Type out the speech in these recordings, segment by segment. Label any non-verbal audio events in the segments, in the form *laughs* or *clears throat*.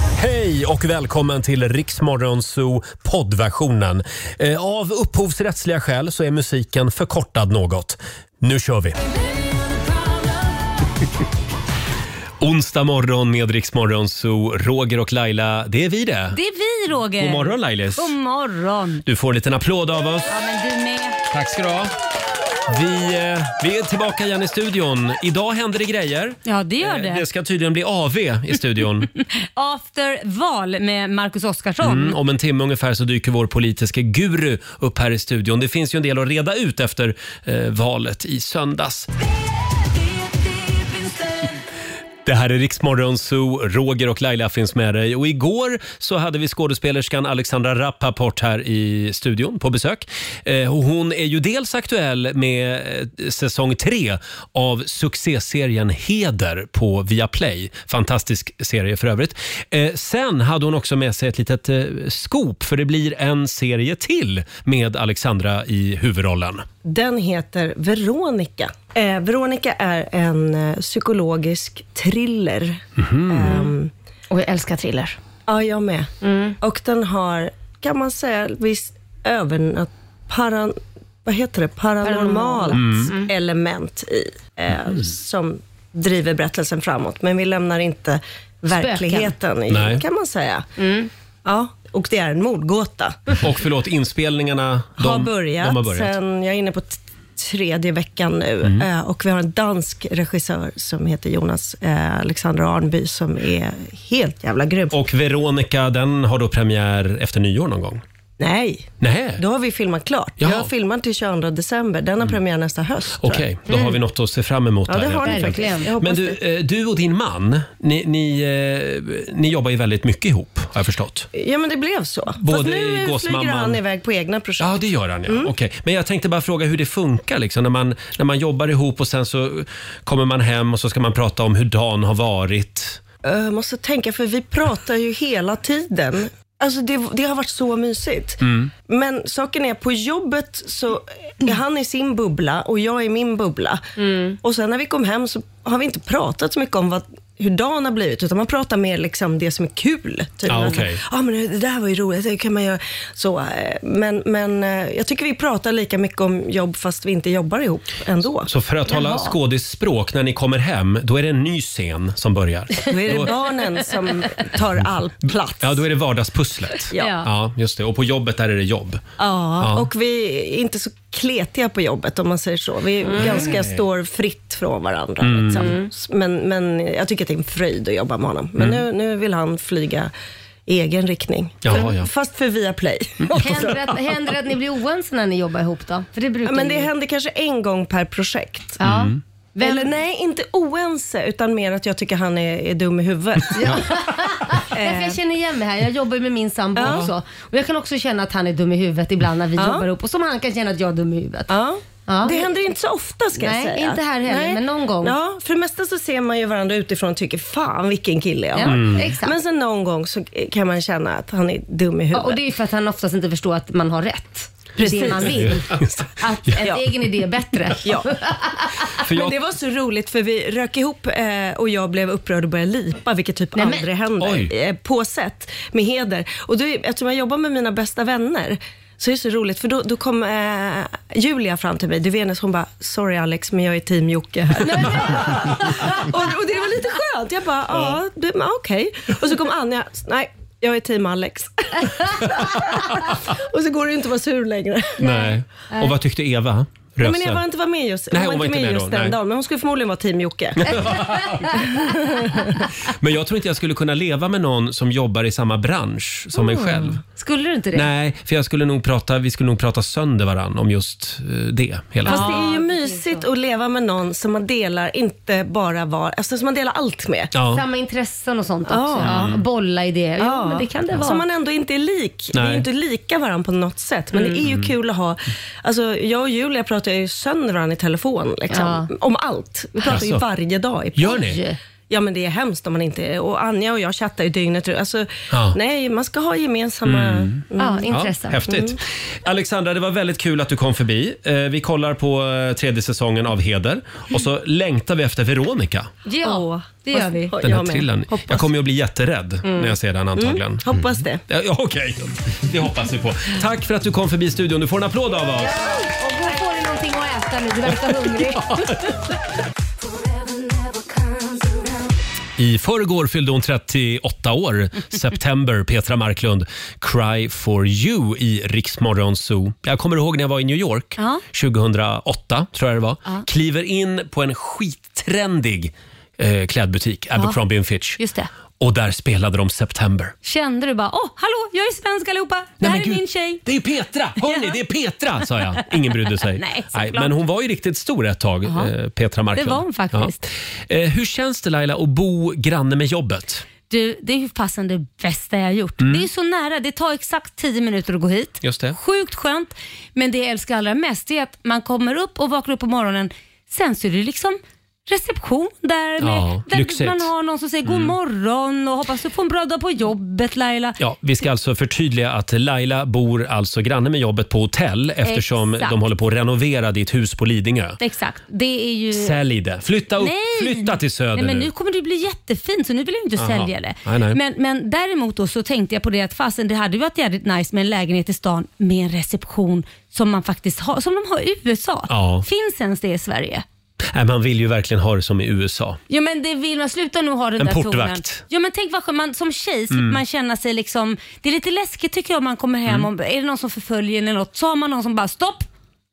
Hej och välkommen till Riksmorgonzoo poddversionen. Eh, Av upphovsrättsliga skäl så är musiken förkortad något. Nu kör vi! *laughs* Onsdag morgon med Riksmorgonzoo, Roger och Laila. Det är vi det. Det är vi Roger. God morgon Lailis! God morgon. Du får en liten applåd av oss. Ja men du med. Tack ska du ha. Vi, eh, vi är tillbaka igen i studion. Idag händer det grejer. Eh, Ja det gör Eh, det. Det ska tydligen bli AV i *laughs* studion. After val med Marcus Oskarsson. Mm, om en timme ungefär så dyker vår politiska guru upp här i studion. Det finns ju en del att reda ut efter eh, valet i söndags. Det här är Riksmorgon Zoo. Roger och Laila finns med dig. Och igår så hade vi skådespelerskan Alexandra Rappaport här i studion på besök. Eh, och hon är ju dels aktuell med eh, säsong tre av succéserien Heder på Viaplay. Fantastisk serie för övrigt. Eh, sen hade hon också med sig ett litet eh, scoop för det blir en serie till med Alexandra i huvudrollen. Den heter Veronica. Eh, Veronica är en eh, psykologisk thriller. Mm. Ehm, Och jag älskar thriller. ja, jag med. Mm. Och den har, kan man säga, viss övernat... Paran, vad heter det? Paranormalt Mm. element i. Eh, Som driver berättelsen framåt. Men vi lämnar inte verkligheten i, Nej. Mm. kan man säga. Ja, och det är en mordgåta. Och förlåt, inspelningarna de, har, börjat. de har börjat. Mm. Sen, jag är inne på t- tredje veckan nu Eh, och vi har en dansk regissör som heter Jonas eh, Alexander Arnby som är helt jävla grym. Och Veronica, den har då premiär efter nyår någon gång? Nej, Nej. då har vi filmat klart. Jaha. Mm. Jag har filmat till 22 december. Den har premiär nästa höst. tror jag. Mm. Okej, då har vi något att se fram emot. Ja, det där, har ni helt enkelt. verkligen. Jag hoppas Men du, eh, du och din man, ni, ni, eh, ni jobbar ju väldigt mycket ihop har jag förstått. Mm. Ja, men det blev så. Både Fast i nu eh, Gåsmamman- flyger han iväg på egna projekt. Ja, det gör han ja. Mm. Okej. Men jag tänkte bara fråga hur det funkar liksom, när, man, när man jobbar ihop och sen så kommer man hem och så ska man prata om hur dagen har varit. Jag Eh, måste tänka, för vi pratar ju hela tiden. Alltså det, det har varit så Mm. mysigt. Men saken är, på jobbet så är han i sin bubbla och jag i min bubbla. Och sen när vi kom hem så har vi inte pratat så mycket om vad, hur dagen har blivit, utan man pratar mer liksom det som är kul. Typ. Ja, Alltså, okej. ah, men det där var ju roligt, det kan man göra. Så, eh, men men eh, jag tycker vi pratar lika mycket om jobb fast vi inte jobbar ihop ändå. Så för att tala skådisspråk, när ni kommer hem, då är det en ny scen som börjar. *laughs* Då är det barnen som tar all plats. Ja, då är det vardagspusslet. Ja. ja, just det. Och på jobbet där är det jobb. Ja, Ja. och vi är inte så kletiga på jobbet om man säger så. Vi Mm. ganska står fritt från varandra. Liksom. Men, men jag tycker att det är en fröjd att jobba med honom. Men nu, nu vill han flyga i egen riktning. Jaha, Mm. ja. Mm. Fast för Viaplay. *laughs* Händer att, händer att ni blir oense när ni jobbar ihop då? För det brukar Ja, men ni det ju. händer kanske en gång per projekt. Ja. Mm. Vem, Eller nej, inte oense, utan mer att jag tycker han är, är dum i huvudet. *laughs* Eh. därför jag känner igen mig här. Jag jobbar ju med min sambo också. Och jag kan också känna att han är dum i huvudet ibland när vi jobbar ihop. Och som han kan känna att jag är dum i huvudet. Ja. Ja. Det händer inte så ofta ska Nej, jag säga. inte här heller, men någon gång. Ja, för det mesta så ser man ju varandra utifrån och tycker fan vilken kille jag Ja, har. exakt. Men sen någon gång så kan man känna att han är dum i ja, huvudet. och det är ju för att han oftast inte förstår att man har rätt. Precis. Det man vill. Just det. Att ens egen idé är *laughs* bättre. Ja. För jag Men det var så roligt för vi rök ihop eh, och jag blev upprörd och började lipa, vilket typ men- aldrig händer. Oj. Eh, på sätt, med heder. Och då, eftersom jag jobbar med mina bästa vänner så är det så roligt, för då, då kom eh, Julia fram till mig, du Venus, hon bara, sorry Alex, men jag är team Jocke här. *laughs* och, och det var lite skönt. Jag bara, ja, det- men okej. Och så kom Anja, nej, jag är team Alex. *laughs* och så går det ju inte att vara sur längre. Nej. Och vad tyckte Eva? Nej, Röse? men Eva inte var med just, Nej, hon var inte med då, just den nej. dagen, men hon skulle förmodligen vara team *laughs* Jocke. Men jag tror inte jag skulle kunna leva med någon som jobbar i samma bransch som Mm. mig själv. Skulle du inte det? Nej, för jag skulle nog prata, vi skulle nog prata sönder varann om just eh, det hela Mm. Fast tiden. det är ju mysigt att leva med någon som man delar inte bara var, alltså som man delar allt med. Ja. Mm. Samma intressen och sånt också. Ja. Bolla idéer. Ja, men det kan det vara. Som man ändå inte är lik. Vi är Nej. Mm. ju inte lika varandra på något sätt, men det är ju kul att ha... Alltså, jag och Julia pratar ju sönder varandra i telefon. Liksom, Om allt. Vi pratar ju Jaså? varje dag. i- Alltså. Gör ni? Oj. Ja men det är hemskt om man inte är Och Anja och jag chattar ju dygnet runt. Alltså, Ja. Mm. nej, man ska ha gemensamma... Mm. Ja, Ja, intresse. häftigt. Alexandra, det var väldigt kul att du kom förbi. Eh, Vi kollar på eh, tredje säsongen av Heder och så längtar vi efter Veronica. Ja, det gör vi. Den här med. thrillern. Hoppas. Mm. Jag kommer ju att bli jätterädd när jag ser den antagligen. Mm. Hoppas det. Ja, ja, Okej, det hoppas vi på. Tack för att du kom förbi studion. Du får en applåd av oss. Och då får du någonting att äta nu. Du *laughs* verkar hungrig. I förrgår fyllde hon 38 år. September, Petra Marklund. Cry for you i Riksmorgon Zoo. Jag kommer ihåg när jag var i New York Ja. 2008, tror jag det var. Kliver in på en skittrendig eh, klädbutik, Abercrombie Fitch. Just det. Och där spelade de September. Kände du bara, åh, hallå, jag är svensk allihopa. Det Nej, här men är gud, min tjej. Det är Petra! Hörni, Ja. det är Petra! sa jag. Ingen brydde *laughs* sig. Nej, såklart. men hon var ju riktigt stor ett tag, eh, Petra Marklund. Det var hon faktiskt. Ja. Eh, hur känns det Laila att bo granne med jobbet? Du, det är ju fasen det bästa jag har gjort. Mm. Det är så nära, det tar exakt 10 minuter att gå hit. Just det. Sjukt skönt, men det jag älskar allra mest är att man kommer upp och vaknar upp på morgonen, sen så är det liksom reception där, med, Ja, lyxigt. Mm. där man har någon som säger god morgon och hoppas du får en bra dag på jobbet Laila. Ja, vi ska alltså förtydliga att Laila bor alltså granne med jobbet på hotell eftersom Exakt. de håller på att renovera ditt hus på Lidingö. Exakt, det är ju... Sälj det. Flytta, upp, flytta till Söder nej, men nu nu. kommer det bli jättefint så nu vill jag inte Jaha. sälja det. Nej, nej. Men, men däremot då så tänkte jag på det att fasen det hade ju varit jävligt nice med en lägenhet i stan med en reception som man faktiskt har, som de har i USA. Ja. Finns ens det i Sverige? Nej, man vill ju verkligen ha det som i USA. Jo men det vill man, sluta nu ha den En där tonen. portvakt. Mm. Jo men tänk vad skönt, man, som tjej slipper man känna sig liksom, det är lite läskigt tycker jag om man kommer hem Mm. och är det någon som förföljer en eller något så har man någon som bara stopp,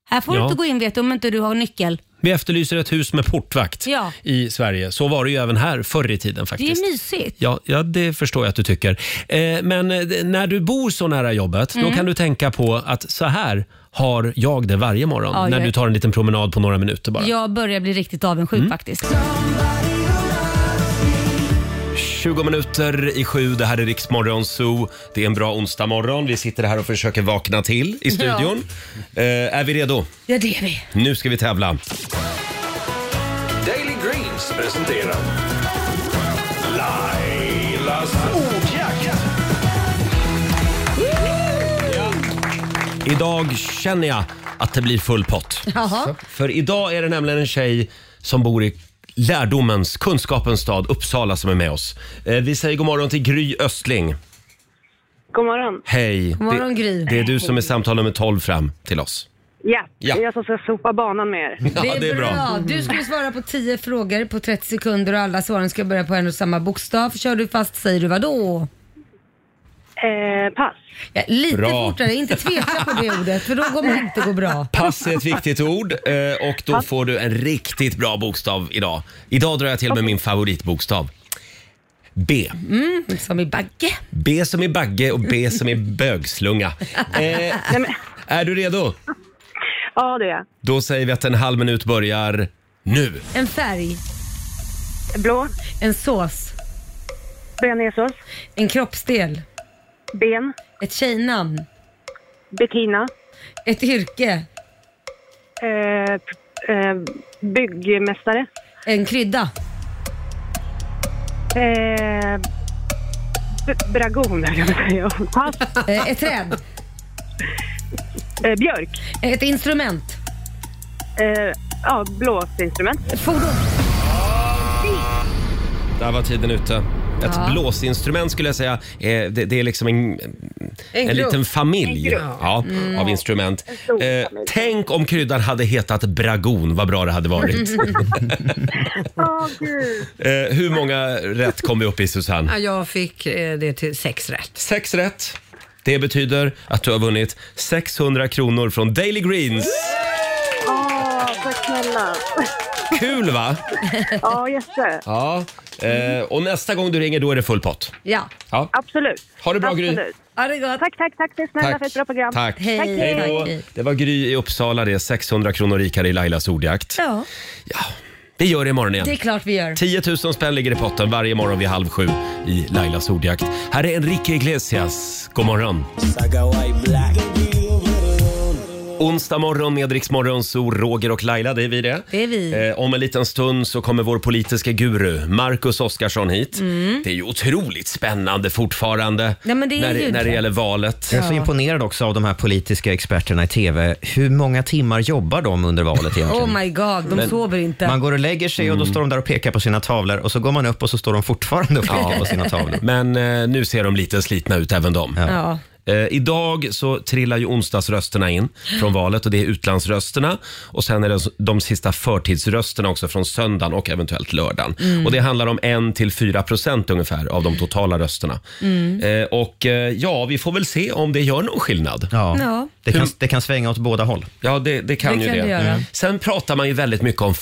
här får Ja. du inte gå in vet du om inte du har nyckel. Vi efterlyser ett hus med portvakt Ja. i Sverige. Så var det ju även här förr i tiden Det är faktiskt. mysigt. Ja, ja, det förstår jag att du tycker. Eh, men eh, när du bor så nära jobbet, Mm. då kan du tänka på att så här har jag det varje morgon. Ja, när jag- du tar en liten promenad på några minuter bara. Mm. Jag börjar bli riktigt avundsjuk faktiskt. 20 minuter i sju, det här är Riksmorgon Zoo. Det är en bra onsdag morgon. Vi sitter här och försöker vakna till i studion. Eh, är vi redo? *laughs* Ja det är vi. Nu ska vi tävla. Daily Greens presenterar Lailas ordjakt. Idag känner jag att det blir full pott. Jaha. För idag är det nämligen en tjej som bor i lärdomens, kunskapens stad Uppsala som är med oss. Eh, Vi säger god morgon till Gry Östling. God morgon. Hej! God morgon, det, Gry. det är du som är samtal nummer 12 fram till oss. Ja, Ja. det är jag *laughs* som ska sopa banan med er. Ja, Du skulle svara på 10 frågor på 30 sekunder och alla svaren ska börja på en och samma bokstav. Kör du fast säger du vadå? Eh, pass. Ja, lite Bra. fortare, inte tveka på *laughs* det ordet för då kommer det inte gå bra. Pass är ett viktigt ord eh, och då får du en riktigt bra bokstav idag. Idag drar jag till med min favoritbokstav. B. Mm, Som i bagge. B som i bagge och B som i bögslunga. Eh, är du redo? Ja, det är jag. Då säger vi att en halv minut börjar nu. En färg, Blå, en sås, bearnaisesås, en kroppsdel, ben, ett tjejnamn, Bettina, ett yrke, eh, p- eh, byggmästare, en krydda, eh, b- *laughs* bragon, höll jag på att säga. Pass. eh, ett träd, Eh, björk. ett instrument, Eh, ja, blåsinstrument. ett fordon. Där var tiden ute. Ett Ja. blåsinstrument skulle jag säga. Eh, det, det är liksom en, en, grupp. Mm. liten familj ja, av instrument. stor Eh, familj. tänk om kryddan hade hetat bragon. Vad bra det *laughs* hade varit. Åh, gud. eh, hur många rätt kom vi upp i, Susanne? Ja, jag fick eh, det till sex rätt. Sex rätt. Det betyder att du har vunnit 600 kronor från Daily Greens. Åh, tack snälla. Kul va? Ja, jätte. Ja. Eh, och nästa gång du ringer då är det full pott. Ja, Ja. Absolut. Ha det bra, Gry. Absolut. ha det gott. Tack, tack, tack. Tack snälla för ett bra program. Tack. Hej. Tack, Hej då. Tack. Det var Gry i Uppsala det. 600 kronor rikare i Lailas ordjakt. Ja, Vi gör det imorgon igen. det är klart vi gör. 10 000 spänn ligger i potten varje morgon vid halv sju i Lailas ordjakt. Här är Enrique Iglesias. God morgon. Onsdag morgon med Rix Morgon, så Roger och Laila, det är vi det. Det är vi. Eh, om en liten stund så kommer vår politiska guru, Marcus Oskarsson, hit. Mm. Det är ju otroligt spännande fortfarande Ja, men det är när, ju när det det. gäller valet. Jag är så imponerad också av de här politiska experterna i TV. Hur många timmar jobbar de under valet egentligen? Oh my god, de sover inte. Man går och lägger sig och Mm. då står de där och pekar på sina tavlor och så går man upp och så står de fortfarande och pekar på sina tavlor. Men eh, nu ser de lite slitna ut även de. ja. Eh, idag så trillar ju onsdagsrösterna in från valet och det är utlandsrösterna och sen är det de sista förtidsrösterna också från söndagen och eventuellt lördagen. Mm. Och det handlar om 1-4 procent ungefär av de totala rösterna. Mm. Mm. Eh, och eh, ja, vi får väl se om det gör någon skillnad. Ja. Ja. Det, kan, det kan svänga åt båda håll. Ja, det, det kan Det ju kan det. det göra. Mm. Sen pratar man ju väldigt mycket om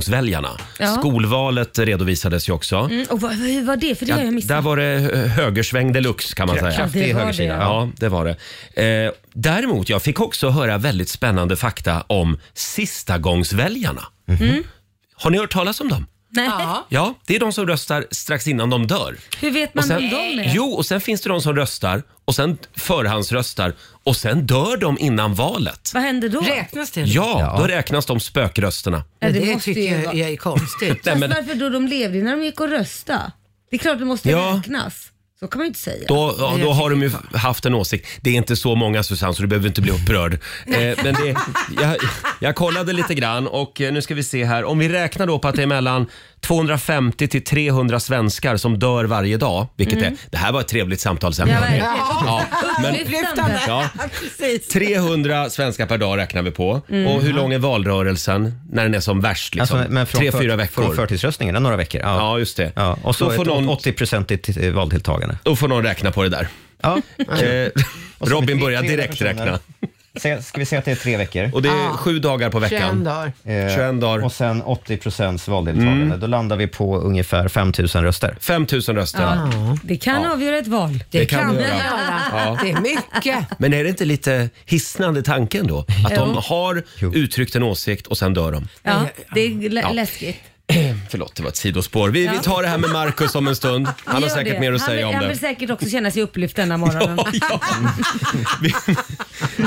förstagångsväljarna. Ja. Skolvalet redovisades ju också. Mm, och vad, hur var det? För det har jag Där missat. var det eh, högersväng deluxe kan man säga. Kraftig det var högersida. det. Ja. Ja, det var det. Eh, däremot, jag fick också höra väldigt spännande fakta om sistagångsväljarna. Mm. Mm. Har ni hört talas om dem? Nej. Ja, det är de som röstar strax innan de dör. Hur vet Och man sen, vem de är? jo, och sen finns det de som röstar och sen förhandsröstar och sen dör de innan valet. Vad händer då? Räknas det? Ja, då räknas de spökrösterna. Ja, Det, det, måste tycker ju jag vara. är konstigt. Nej, Fast men- varför då de levde när de gick och rösta? Det är klart det måste Ja. räknas. Så kan man ju inte säga. Då, ja, då jag har de ju haft en åsikt. Det är inte så många Susanne, så du behöver inte bli upprörd. Eh, men det, jag, jag kollade lite grann och eh, nu ska vi se här. Om vi räknar då på att det är mellan 250 till 300 svenskar som dör varje dag, vilket är, det här var ett trevligt samtalsämne. Ja, verkligen. Ja, men, Lyftande. ja, 300 svenskar per dag räknar vi på. Och hur lång är valrörelsen när den är som värst? Liksom? Alltså, men från Tre, för- fyra Från veckor. förtidsröstningen, några veckor. Ja, just det. Ja, och så Då får ett någon- 80-procentigt eh, valdeltagande. Då får någon räkna på det där. Ja. Eh, Och så Robin tre- börjar 300 direkt personer. räkna. Se- Ska vi säga att det är tre veckor? Och det är sju dagar på veckan. 21 dagar. Eh, 21 dagar. Mm. Och sen 80 procents valdeltagande. Då landar vi på ungefär 5 000 röster. 5 000 röster. Det kan avgöra ett val. Det kan det göra. Ja. Det är mycket. Men är det inte lite hisnande tanken då? Att de har uttryckt en åsikt och sen dör de. *clears throat* Ja, det är lä- läskigt. Förlåt, det var ett sidospår. Vi, vi tar det här med Markus om en stund. Han har Gör säkert det. mer att han säga vill, om Han det. vill säkert också känna sig upplyft denna morgonen. *laughs* Ja, ja. Vi,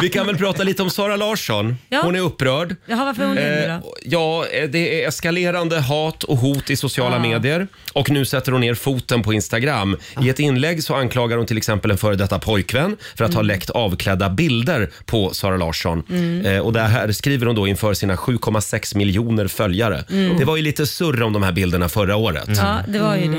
vi kan väl prata lite om Sara Larsson. Ja. Hon är upprörd. Jaha, varför är hon det Eh, då? ja, eh, det är eskalerande hat och hot i Ah. sociala medier. Och nu sätter hon ner foten på Instagram. Ah. I ett inlägg så anklagar hon till exempel en före detta pojkvän för att ha Mm. läckt avklädda bilder på Sara Larsson. Eh, och det här skriver hon då inför sina 7,6 miljoner följare. Det var ju lite surr om de här bilderna förra året. Mm. Ja, det var ju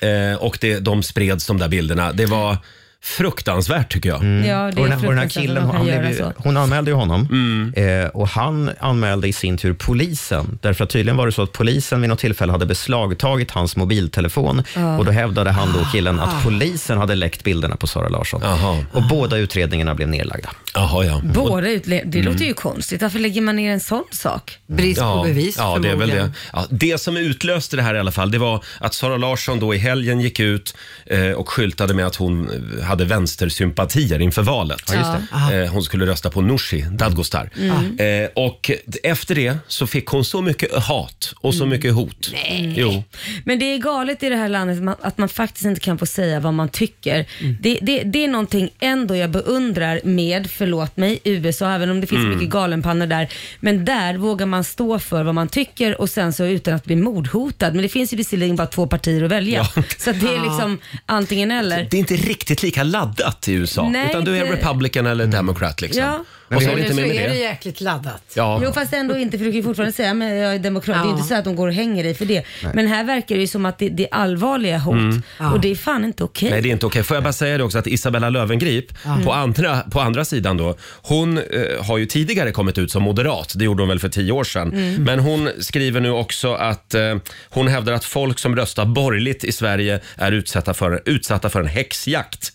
det. Eh, och det, de spreds de där bilderna. Det var fruktansvärt tycker jag. Mm. Ja, det Och är den här, och den här fruktansvärt killen, att man han kan blev, göra ju- så. hon anmälde ju honom Mm. eh, och han anmälde i sin tur polisen. Därför att tydligen var det så att polisen vid något tillfälle hade beslagtagit hans mobiltelefon och då hävdade han då killen Ah. att polisen hade läckt bilderna på Sara Larsson. Jaha. Och båda utredningarna blev nedlagda. Jaha, ja. Båda utle- Det låter ju konstigt. Varför lägger man ner en sån sak? Brist på Mm. Ja, bevis ja det är väl förmodligen. det. Ja, det som utlöste det här i alla fall, det var att Sara Larsson då i helgen gick ut eh, och skyltade med att hon eh, hade vänstersympatier inför valet. Eh, hon skulle rösta på Nooshi Dadgostar. Eh, och d- efter det så fick hon så mycket hat och så mycket hot. Nej. Jo. Men det är galet i det här landet att man- att man faktiskt inte kan få säga vad man tycker. Mm. Det, det, det är någonting ändå jag beundrar med, förlåt mig, USA, även om det Mm. finns mycket galenpannor där. Men där vågar man stå för vad man tycker och sen så utan att bli mordhotad. Men det finns ju visserligen bara två partier att välja. Ja. Så att det är liksom antingen eller. Det är inte riktigt lika laddat i USA. Nej, utan du är inte- republican eller democrat liksom. Ja. Och så är det Eller inte så mer med är det det. jäkligt laddat. Ja. Jo fast ändå inte, för du kan ju fortfarande säga men jag är demokrat. Det Ja. är ju inte så att de går och hänger dig för det. Men här verkar det ju som att det, det är allvarliga hot Mm. och det är fan inte okej. Nej, det är inte okej. Får jag bara säga det också att Isabella Löwengrip på, andra, på andra sidan då, hon eh, har ju tidigare kommit ut som moderat. Det gjorde hon väl för tio år sedan. Mm. Men hon skriver nu också att eh, hon hävdar att folk som röstar borgerligt i Sverige är utsatta för, utsatta för en häxjakt.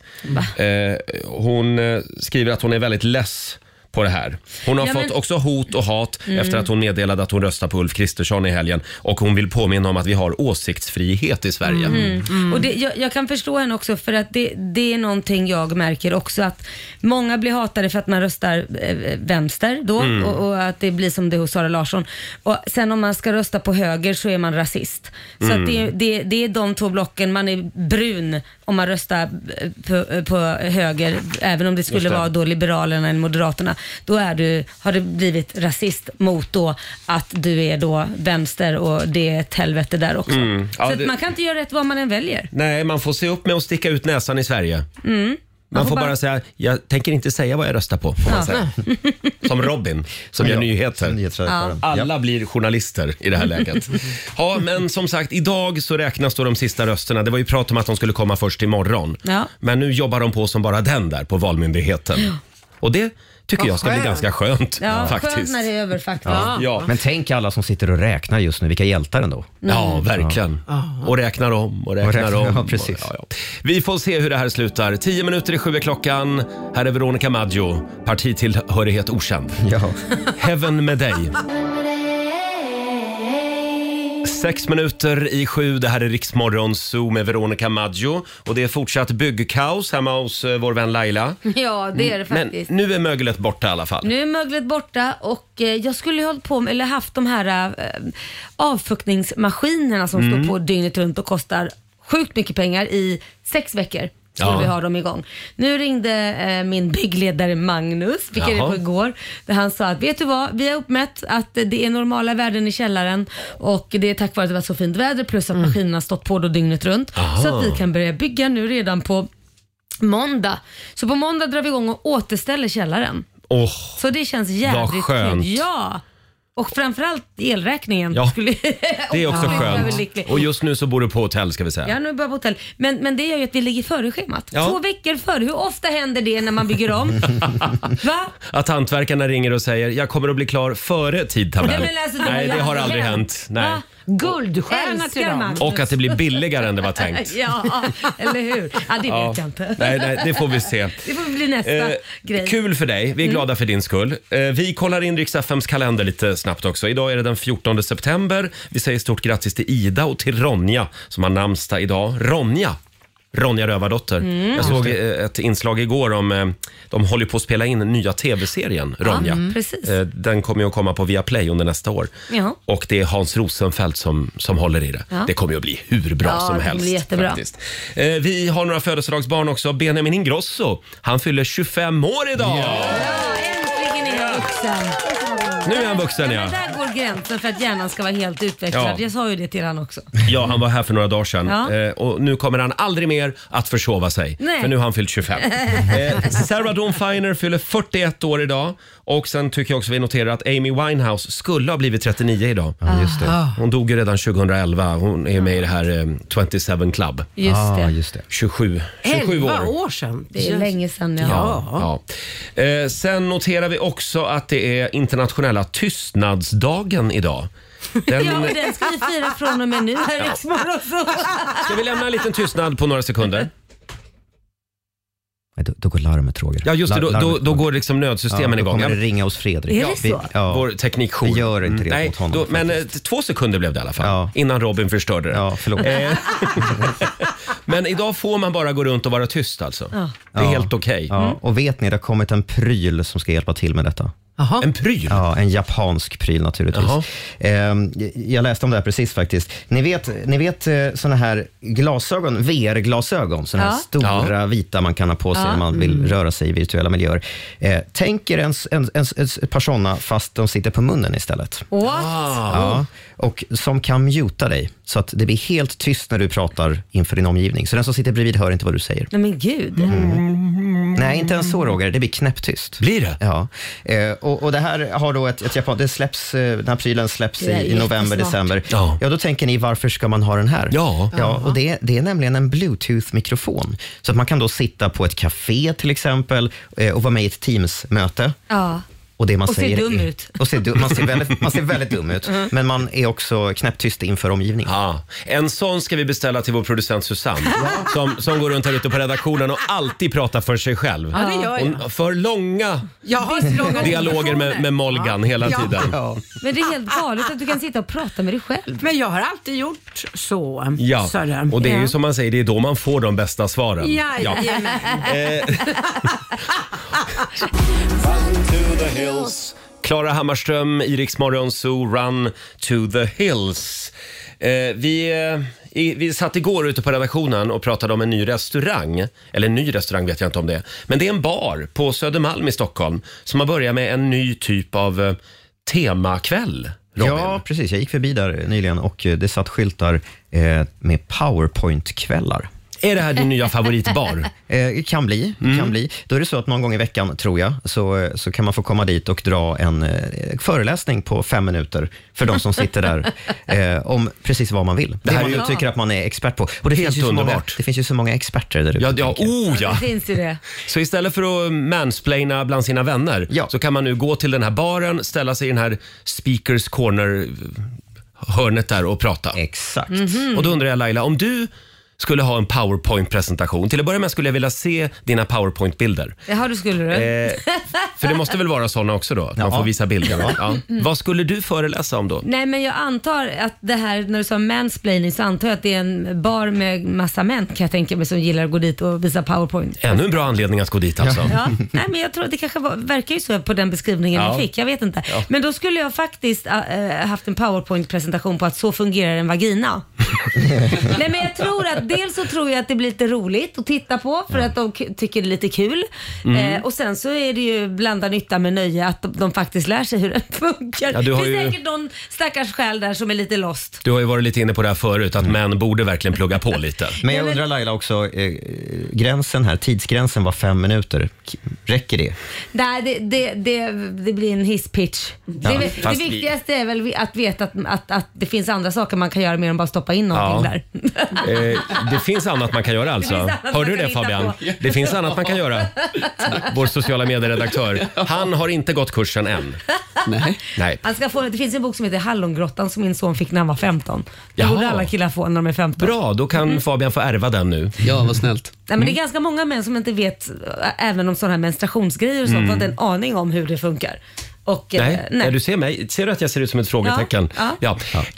Ah. Eh, hon eh, skriver att hon är väldigt less på det här. Hon har Ja, fått men- Mm. också hot och hat efter att hon meddelade att hon röstar på Ulf Kristersson i helgen och hon vill påminna om att vi har åsiktsfrihet i Sverige. Mm. Och det, jag, jag kan förstå henne också för att det, det är någonting jag märker också att många blir hatade för att man röstar eh, vänster då Mm. och, och att det blir som det hos Sara Larsson. Och sen om man ska rösta på höger så är man rasist. Så att det, Mm. det, det är de två blocken, man är brun om man röstar eh, på, eh, på höger även om det skulle det. vara då Liberalerna eller Moderaterna. då är du, har du blivit rasist mot då att du är då vänster och det är ett helvete där också. Mm. Ja, så att det- man kan inte göra rätt vad man än väljer. Nej, man får se upp med att sticka ut näsan i Sverige. Mm. Man, Man får får bara... bara säga, jag tänker inte säga vad jag röstar på. Får man Ja. *laughs* säga. Som Robin, som gör nyheter. Ja. Alla blir journalister i det *laughs* här läget. Ja, men som sagt, idag så räknas då de sista rösterna. Det var ju prat om att de skulle komma först imorgon. Ja. Men nu jobbar de på som bara den där på Valmyndigheten. Och det tycker Vad jag ska bli skönt. ganska skönt Ja, skönt faktiskt. när det är över faktiskt. Ja. Ja. Men tänk alla som sitter och räknar just nu, vilka hjältar ändå. Ja, verkligen. Och räknar om och räknar, räknar- om. *laughs* ja, och- precis. ja, ja. Vi får se hur det här slutar. Tio minuter i sju är klockan. Här är Veronica Maggio, partitillhörighet okänd. *laughs* Ja. Heaven med dig. Sex minuter i sju, det här är Riksmorgon Zoo med Veronica Maggio. Och det är fortsatt byggkaos hemma hos eh, vår vän Laila. Ja, det är det Men faktiskt. nu är möglet borta i alla fall. Nu är möglet borta och eh, jag skulle ju hållit på med, eller haft de här eh, avfuktningsmaskinerna som Mm. står på dygnet runt och kostar sjukt mycket pengar i sex veckor. Skulle Ja. vi ha dem igång. Nu ringde eh, min byggledare Magnus, fick jag reda Jaha. på igår, där han sa att vet du vad, vi har uppmätt att eh, det är normala värden i källaren och det är tack vare att det var så fint väder plus Mm. att maskinerna har stått på då dygnet runt. Jaha. Så att vi kan börja bygga nu redan på måndag. Så på måndag drar vi igång och återställer källaren. Åh, Så det känns jävligt Vad skönt. tryggt. Ja. Och framförallt elräkningen. Ja. Skulle, det är också skulle vara skönt. överlycklig. Och just nu så bor du på hotell ska vi säga. Ja, nu börjar på hotell. Men, men det gör ju att vi ligger före schemat. Ja. Två veckor före. Hur ofta händer det när man bygger *laughs* om? Va? Att hantverkarna ringer och säger jag kommer att bli klar före tidtabell. Nej, men alltså, det har Nej, ju det har aldrig aldrig hänt. hänt. Nej. Va? Guldstjärna Älskar Magnus. Och att det blir billigare än det *laughs* var tänkt. ja, eller hur? Ja, det Ja. vet jag inte. Nej, nej, det får vi se. *laughs* Det får bli nästa Eh, grej. kul för dig. Vi är Mm. glada för din skull. Eh, vi kollar in Rix FMs kalender lite snabbt också. Idag är det den 14 september. Vi säger stort grattis till Ida och till Ronja som har namnsdag idag. Ronja! Ronja Rövardotter. Mm. Jag Just såg det. eh, ett inslag igår om eh, de håller på att spela in nya tv-serien Ronja. Ja, precis. Eh, Den kommer ju att komma på Viaplay under nästa år. Ja. Och det är Hans Rosenfeldt som, som håller i det. Ja. Det kommer ju att bli hur bra Ja, som det helst. blir jättebra. faktiskt. Eh, vi har några födelsedagsbarn också. Benjamin Ingrosso, han fyller 25 år idag! Äntligen är jag vuxen. Nu är han vuxen ja. Där går gränsen för att hjärnan ska vara helt utvecklad. Ja. Jag sa ju det till han *laughs* också. Ja, han var här för några dagar sedan. Ja. Eh, och nu kommer han aldrig mer att försova sig. Nej. För nu har han fyllt 25. *laughs* eh, Sarah Dawn Finer fyller 41 år idag. Och sen tycker jag också vi noterar att Amy Winehouse skulle ha blivit 39 idag. Ja, just det. Ah. Hon dog ju redan 2011. Hon är med i det här eh, 27 Club. Just det. Ah, just det. 27, 27 11 år. år sedan. Det är länge sedan ja. Ja. ja. Eh, sen noterar vi också att det är internationella tystnadsdagen idag. *laughs* Den, Ja, och den ska vi fira från och med *laughs* nu här i Ja. Riksmorgon. Ska vi lämna en liten tystnad på några sekunder? Nej, Då, då går larmet, Roger. Ja, just det. Då, då, då går liksom nödsystemen ja, då igång. kommer det Ja. ringa hos Fredrik. Är det Vi, så? ja. Vår teknikjour. Vi gör inte det Nej, mot honom. då, men eh, två sekunder blev det i alla fall. Innan Robin förstörde det. Ja, förlåt. *laughs* men idag får man bara gå runt och vara tyst alltså. Ja. Det är helt okej. Ja, Och vet ni, det har kommit en pryl som ska hjälpa till med detta. En pryl? Ja, en japansk pryl naturligtvis. Ehm, j- jag läste om det här precis faktiskt. Ni vet, ni vet eh, såna här glasögon, VR-glasögon, såna här Ja. stora vita man kan ha på sig Ja. när man vill Mm. röra sig i virtuella miljöer. Eh, tänk er en, s- en, en, s- ett par såna fast de sitter på munnen istället. What? Ah. Ja, och som kan muta dig, så att det blir helt tyst när du pratar inför din omgivning. Så den som sitter bredvid hör inte vad du säger. *laughs* Nej men gud. Mm. Nej, inte ens så Roger. Det blir knäpptyst. Blir det? Ja. Eh, och, och det här har då ett, ett japan... Det släpps, eh, den här prylen släpps Det där är i, i november, jättesmart. december. Ja. då tänker ni, varför ska man ha den här? Ja. ja och det, det är nämligen en bluetooth-mikrofon. Så att man kan då sitta på ett café till exempel eh, och vara med i ett Teams-möte. Ja. Och, det man Och se säger dum är, ut. Och ser dum, man, ser väldigt, man ser väldigt dum *laughs* ut, Mm. men man är också knäpptyst inför omgivningen. Ja. En sån ska vi beställa till vår producent Susanne som, som går runt här ute på redaktionen och alltid pratar för sig själv. Ja, det gör jag. Hon för långa Jag har långa dialoger med, med Molgan hela Ja. tiden. Ja. Men det är helt galet att du kan sitta och prata med dig själv. Men jag har alltid gjort så. Ja, Sören. och det är Ja. ju som man säger, det är då man får de bästa svaren. Ja. Jajamän. Eh, Klara Hammarström, Iriks Morgonzoo, Run to the Hills. Eh, vi, eh, i, vi satt igår ute på redaktionen och pratade om en ny restaurang. Eller en ny restaurang vet jag inte om det är. Men det är en bar på Södermalm i Stockholm som har börjat med en ny typ av eh, temakväll. Robin. Ja, precis. Jag gick förbi där nyligen och eh, det satt skyltar eh, med powerpoint-kvällar. Är det här din nya favoritbar? *laughs* Mm. Eh, kan bli, kan bli. Då är det så att någon gång i veckan, tror jag, så, eh, så kan man få komma dit och dra en eh, föreläsning på fem minuter för de som sitter *laughs* där eh, om precis vad man vill. Det här här är man ju- tycker att man är expert på. Och det Helt finns ju så många, underbart. Det finns ju så många experter där ute. Ja, ja, tänker jag. oh ja. Finns ju det. Så istället för att mansplaina bland sina vänner Ja. så kan man nu gå till den här baren, ställa sig i den här speakers corner hörnet där och prata. Exakt. Och då undrar jag Laila, om du skulle ha en powerpoint-presentation. Till att börja med skulle jag vilja se dina powerpoint-bilder. Jaha, du skulle du. Eh, för det måste väl vara såna också då? Att man Ja. får visa bilder. Ja. Vad skulle du föreläsa om då? Nej men jag antar att det här, när du sa mansplaining, så antar jag att det är en bar med massa män kan jag tänka mig som gillar att gå dit och visa powerpoint. Ännu en bra anledning att gå dit alltså. Ja, nej men jag tror att det kanske var, verkar ju så på den beskrivningen Ja. jag fick, jag vet inte. Ja. Men då skulle jag faktiskt äh, äh, haft en powerpoint-presentation på att så fungerar en vagina. *laughs* nej men jag tror att dels så tror jag att det blir lite roligt att titta på för att de k- tycker det är lite kul. Mm. Eh, och sen så är det ju blanda nytta med nöje att de, de faktiskt lär sig hur den funkar. Ja, du har det är ju- säkert någon stackars själ där som är lite lost. Du har ju varit lite inne på det här förut, att män borde verkligen plugga på lite. Mm. Men jag undrar Laila också, eh, gränsen här, tidsgränsen var fem minuter. K- Räcker det? Nej, det, det, det, det blir en hisspitch. det, det fast vi- viktigaste är väl att veta att, att, att det finns andra saker man kan göra mer än bara stoppa in någonting Ja. där. Eh, det finns annat man kan göra Det alltså. finns annat Hörde man du kan det hitta Fabian? på. Det finns annat man *laughs* kan göra. Vår sociala medieredaktör. Han har inte gått kursen än. Nej. Nej. Han ska få, det finns en bok som heter Hallongrottan som min son fick när han var 15. Den Jaha. borde alla killar få när de är 15. Bra, då Mm. kan Fabian få ärva den nu. Ja, vad snällt. Mm. Nej, men det är ganska många män som inte vet, äh, även om sådana här menstruationsgrejer och sånt, har inte en aning om hur det funkar. Och, eh, Mm. Nej, nej. du ser mig. Ser du att jag ser ut som ett frågetecken? Ja,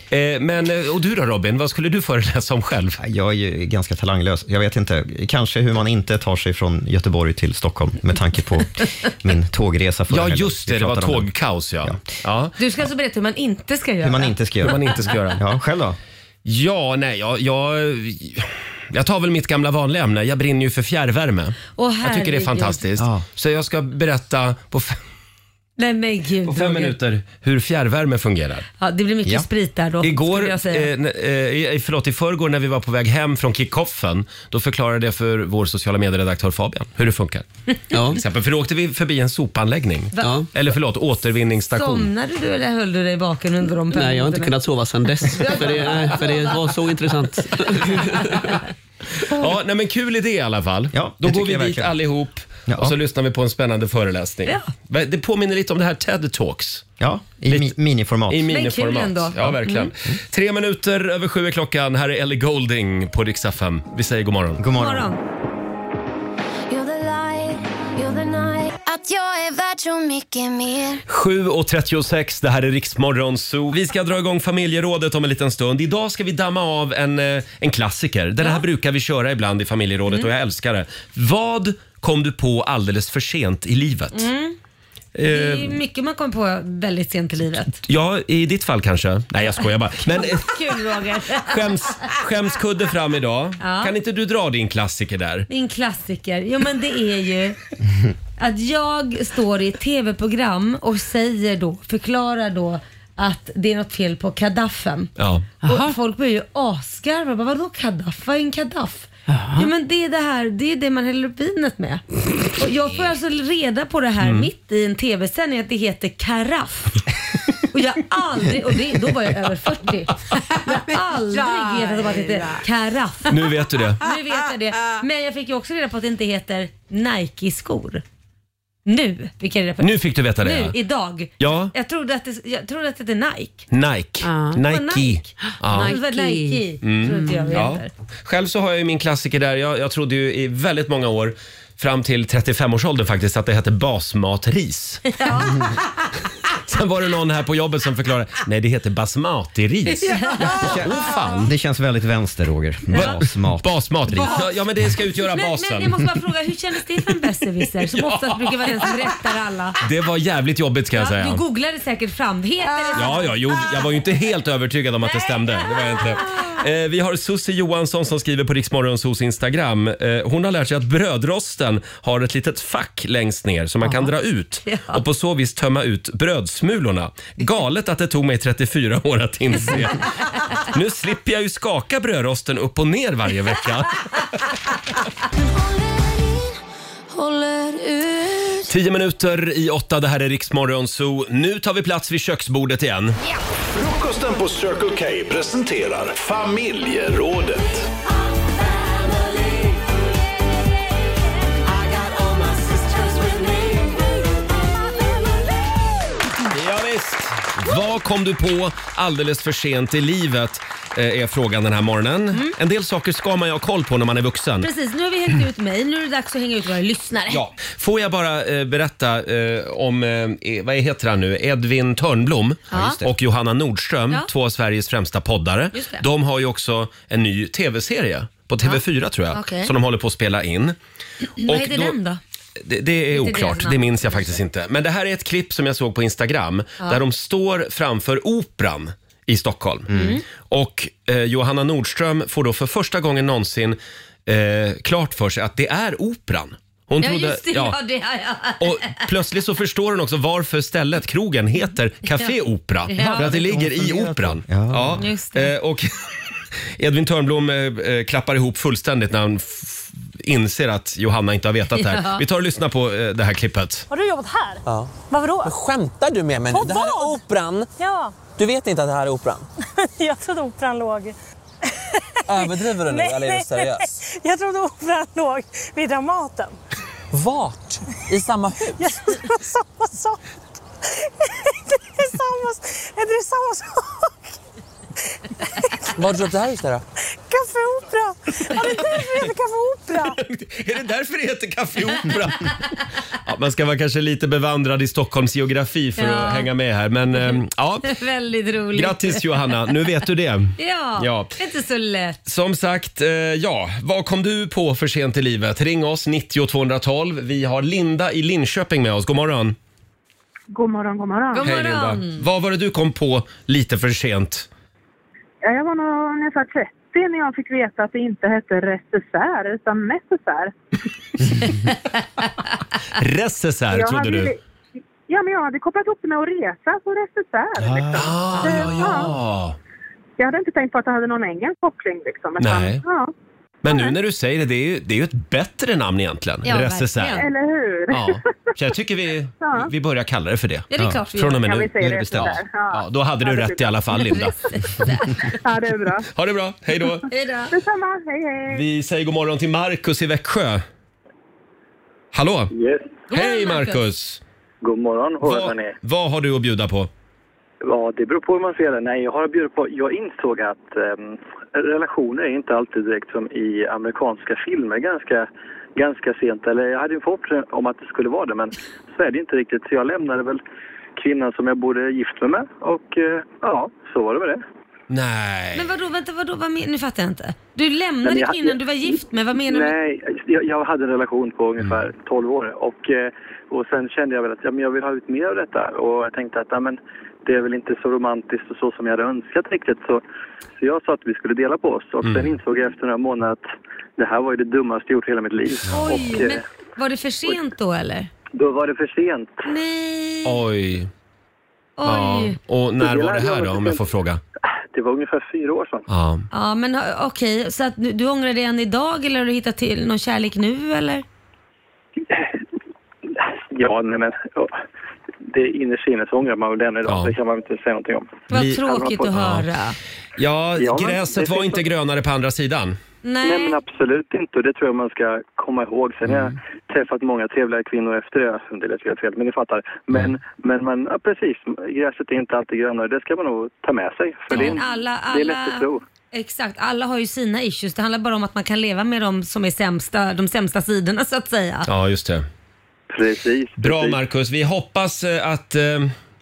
Eh, men, eh, och du då Robin, vad skulle du föreläsa om själv? Jag är ju ganska talanglös. Jag vet inte, kanske hur man inte tar sig från Göteborg till Stockholm med tanke *laughs* på min tågresa förra Ja, helgen. just det. Vi Det var pratade om tågkaos ja. Ja, Du ska alltså berätta hur man inte ska göra. Hur man inte ska göra. Hur man inte ska göra. Ja, själv då? ja nej, jag, jag, jag tar väl mitt gamla vanliga ämne. Jag brinner ju för fjärrvärme. Åh, jag tycker det är herregud. fantastiskt. Ja. Så jag ska berätta på fem, *laughs* Nej men gud. på fem Roger. minuter hur fjärrvärme fungerar. Ja, det blir mycket Ja. sprit där då. Igår, skulle eh, jag säga. n- eh, i- förlåt, i förrgår när vi var på väg hem från kickoffen, då förklarade jag för vår sociala medieredaktör Fabian hur det funkar. *laughs* Ja. Till exempel, för då åkte vi förbi en sopanläggning. Ja. Eller förlåt, återvinningsstation. Somnade du eller höll du dig vaken under de Nej, jag har inte perioderna? kunnat sova sedan dess. *laughs* För det, nej, för det var så intressant. Ja, nej, men kul idé i alla fall. Ja, då det går tycker vi dit jag verkligen. allihop Ja. och så lyssnar vi på en spännande föreläsning. Ja. Va- Det påminner lite om det här TED Talks. Ja, i mi- miniformat. I kul miniformat. ändå. Mm. Ja, verkligen. Tre minuter över sju är klockan. Här är Ellie Golding på Rix FM. Vi säger god morgon. God morgon. Morgon. Att jag är värd så mycket mer 7.36, det här är Riksmorgon Zoo. Vi ska dra igång familjerådet om en liten stund. Idag ska vi damma av en, eh, en klassiker. Den här brukar vi köra ibland i familjerådet och jag älskar det. Vad kom du på alldeles för sent i livet? Mm. Det Eh, är ju mycket man kommer på väldigt sent i livet. Ja, i ditt fall kanske. Nej, jag skojar bara. Men eh, *laughs* Kul Roger. skäms, skämskudde fram idag. Kan inte du dra din klassiker där? Min klassiker. Jo men det är ju att jag står i ett tv-program och säger då, förklarar då att det är något fel på kadaffen. Ja. Och folk blir ju asgarva. Bara, Vadå kadaff? Vad är en kadaff? Ja, men det är det här, det är det man häller upp vinet med. Och jag får alltså reda på det Mm. här mitt i en tv-sändning att det heter karaff. Och jag har aldrig, och det, då var jag över 40. Jag har aldrig vetat om att det heter karaff. Nu vet du det. Nu vet jag det. Men jag fick ju också reda på att det inte heter Nike-skor. Nu fick jag reda på det. Nu fick du veta det. Nu, ja. idag. Ja. Jag trodde att det, jag trodde att det hette Nike. Nike. Det var Nike. Ja. Mm. Det var Nike. Tror inte jag det Ja. heter. Själv så har jag ju min klassiker där. Jag, jag trodde ju i väldigt många år, *laughs* *laughs* fram till 35-årsåldern faktiskt, att det hette basmatris. Sen var det någon här på jobbet som förklarade, nej det heter basmati-ris. Ja. *laughs* Oh, fan. Det känns väldigt vänster, Roger. Ja. Basmat. Basmatris. Ja, ja, men det ska utgöra Men, basen. men jag måste bara fråga, hur kändes det för en besserwisser som *laughs* Ja. oftast brukar vara den som rättar alla? Det var jävligt jobbigt ska jag Ja, säga. du googlade säkert fram. Heter det Ja, ja, jo, jag var ju inte helt övertygad om att det stämde. Det var jag inte. Eh, vi har Susie Johansson som skriver på Riksmorgonsos Instagram. Eh, hon har lärt sig att brödrosten har ett litet fack längst ner som man kan dra ut Ja. och på så vis tömma ut brödsmulorna. Galet att det tog mig 34 år att inse. Nu slipper jag ju skaka brödrosten upp och ner varje vecka. Håller ut. Tio minuter i åtta, det här är Riksmorgonso. Nu tar vi plats vid köksbordet igen. Frukosten på Circle K presenterar familjerådet. Ja, visst. Vad kom du på alldeles för sent i livet? eh, Är frågan den här morgonen. En del saker ska man ju ha koll på när man är vuxen. Mm. Precis, nu har vi hängt ut mig. Nu är det dags att hänga ut våra lyssnare. Ja. Får jag bara eh, berätta eh, om, eh, vad heter han nu, Edvin Törnblom Ja, just det. och Johanna Nordström, Ja. två av Sveriges främsta poddare. Just det. De har ju också en ny tv-serie på TV4 tror jag, Okej. som de håller på att spela in. *laughs* Vad Och heter då- den då? Det, det är Inte oklart, deras det namn. minns jag faktiskt inte. Men det här är ett klipp som jag såg på Instagram Ja. där de står framför Operan i Stockholm. Mm. Och eh, Johanna Nordström får då för första gången någonsin eh, klart för sig att det är Operan. Hon ja, just det. Ja. det har jag. Och plötsligt så förstår hon också varför stället, krogen, heter Café Ja. Opera. Ja. För att det ligger i Operan. Ja. Just Eh, och *laughs* Edvin Törnblom eh, eh, klappar ihop fullständigt när han f- inser att Johanna inte har vetat det här. Ja. Vi tar och lyssnar på eh, det här klippet. Har du jobbat här? Ja. Varför då? Skämtar du med mig nu? På Det här är operan. Ja, *laughs* Du vet inte att det här är operan? jag trodde operan låg... Överdriver du nu eller är du seriös? Jag trodde operan låg vid Dramaten. Vart? I samma *laughs* hus? Jag trodde det var samma sak. Det är samma, det är samma sak. Var har du köpt det här huset då? Café Opera. Ja, det är därför det heter Café Opera. Är det därför det heter Café Opera? Ja, man ska vara kanske lite bevandrad i Stockholms geografi för Ja. Mm. att hänga med här. Men eh, ja, *laughs* Väldigt roligt. grattis Johanna, nu vet du det. Ja, Ja. inte så lätt. Som sagt, eh, ja, vad kom du på för sent i livet? Ring oss, 90 212. Vi har Linda i Linköping med oss. God morgon. God morgon, god morgon. Hej, Linda. Vad var det du kom på lite för sent? Ja, jag var nog ungefär 30 när jag fick veta att det inte hette regissör utan necessär. Recessär, Jag trodde hade- du. Ja, men jag hade kopplat ihop det med att resa på regissör. liksom. Ah, Eh, ja, ja. Jag hade inte tänkt på att det hade någon engelsk koppling. Liksom, utan, Nej. Ja. Men nu när du säger det, det är ju, det är ju ett bättre namn egentligen. Recessär. Eller hur? Ja, så jag tycker vi, Ja. vi börjar kalla det för det. Ja, det är klart vi Från och gör. med Ja, nu. vi säger nu är det det bestämt. sådär. Ja. Ja, då hade du Ja, det rätt blir i alla fall, Linda. ja, det är bra. Ha det bra, hej då. Hej då. Detsamma, hej hej. Vi säger god morgon till Markus i Växjö. Hallå! Hej God morgon, Marcus. Markus! God morgon, hör Vad, ni? vad har du att bjuda på? Ja, det beror på hur man ser det. Nej, jag har bjudit på... Jag insåg att ehm, relationer är inte alltid direkt som i amerikanska filmer ganska, ganska sent. Eller jag hade en förhoppning om att det skulle vara det, men så är det inte riktigt. Så jag lämnade väl kvinnan som jag borde gift mig med och eh, ja, så var det med det. Nej. Men vadå, vänta, vadå, vad men, nu fattar jag inte. Du Men lämnade jag- kvinnan du var gift med, vad menar du? Mm. Nej, jag, jag hade en relation på ungefär 12 år och, eh, och sen kände jag väl att ja, men jag vill ha ut mer av detta och jag tänkte att ja, men det är väl inte så romantiskt och så som jag hade önskat riktigt så, så jag sa att vi skulle dela på oss och Mm. sen insåg jag efter några månader att det här var ju det dummaste jag gjort i hela mitt liv. Oj, och, eh, men var det för sent då eller? Då var det för sent. Nej, Oj. Ja. oj. Och när var det här då, om jag får fråga? Det var ungefär fyra år sedan. *laughs* Ja. Ja men ha- okej, så att du, du ångrar dig än idag eller har du hittat till någon kärlek nu eller? Ja, nej, men ja, det innerst inne så ångrar man väl det än idag. Det kan man väl inte säga någonting om. Vad Hade man tråkigt fått- att höra. Ja, Ja, men gräset det var finns inte något- grönare på andra sidan. Nej. men absolut inte. Och det tror jag man ska komma ihåg. Sen har jag träffat många trevliga kvinnor efter det. Det lät helt fel, men ni fattar. Men, men man, ja, precis. Gräset är inte alltid grönare. Det ska man nog ta med sig. För det, är, Alla, det alla, är lätt att tro. Exakt, alla har ju sina issues. Det handlar bara om att man kan leva med de som är sämsta, de sämsta sidorna så att säga. Ja, just det. Precis. Bra Marcus, vi hoppas eh, att eh,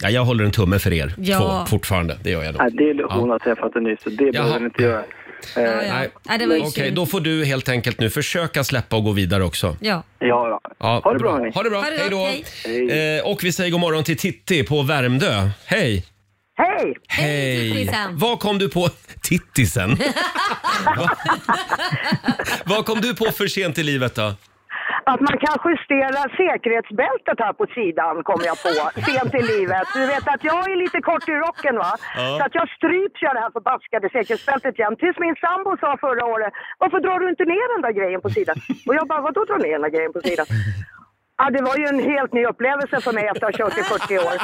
Ja, jag håller en tumme för er Ja. två fortfarande. Det gör jag nog. Nej, det är lugnt. Hon har träffat en ny, så det behöver ni inte göra. ja. Ja, det var ju Okej, synd. då får du helt enkelt nu försöka släppa och gå vidare också. Ja. Ja, ja ha det bra. Ha det bra. Ha det Hej då. gott, Eh, och vi säger god morgon till Titti på Värmdö. Hej! Hej! Hej! Tittisen. Vad kom du på... *laughs* Tittisen? Va- Vad kom du på för sent i livet då? Att man kan justera säkerhetsbältet här på sidan kom jag på sent i livet. Du vet att jag är lite kort i rocken va? Ja. Så att jag stryps ju av det här förbaskade säkerhetsbältet igen. Tills min sambo sa förra året, varför drar du inte ner den där grejen på sidan? Och jag bara, vadå dra ner den där grejen på sidan? Ja, det var ju en helt ny upplevelse för mig efter att ha kört i 40 år.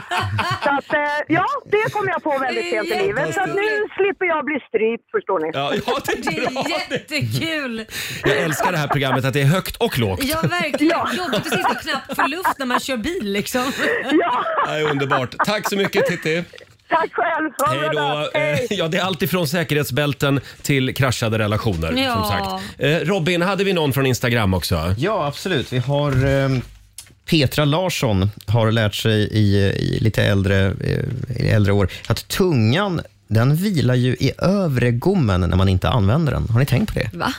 Så att, eh, ja, det kom jag på väldigt Det är sent i livet. Så att nu slipper jag bli strypt, förstår ni. Ja, ja, det är bra. Jättekul! *laughs* Jag älskar det här programmet, att det är högt och *laughs* lågt. Ja, verkligen. Jobbigt att sitta knappt för luft när man kör bil *laughs* liksom. Det är underbart. Tack så mycket Titti. Tack själv! Ha en Hej bra dag. då. Eh, Ja, det är allt ifrån säkerhetsbälten till kraschade relationer. Ja. Som sagt. Eh, Robin, hade vi någon från Instagram också? Ja, absolut. Vi har eh, Petra Larsson har lärt sig i, i lite äldre, eh, i äldre år att tungan den vilar ju i övre gommen när man inte använder den. Har ni tänkt på det? Va?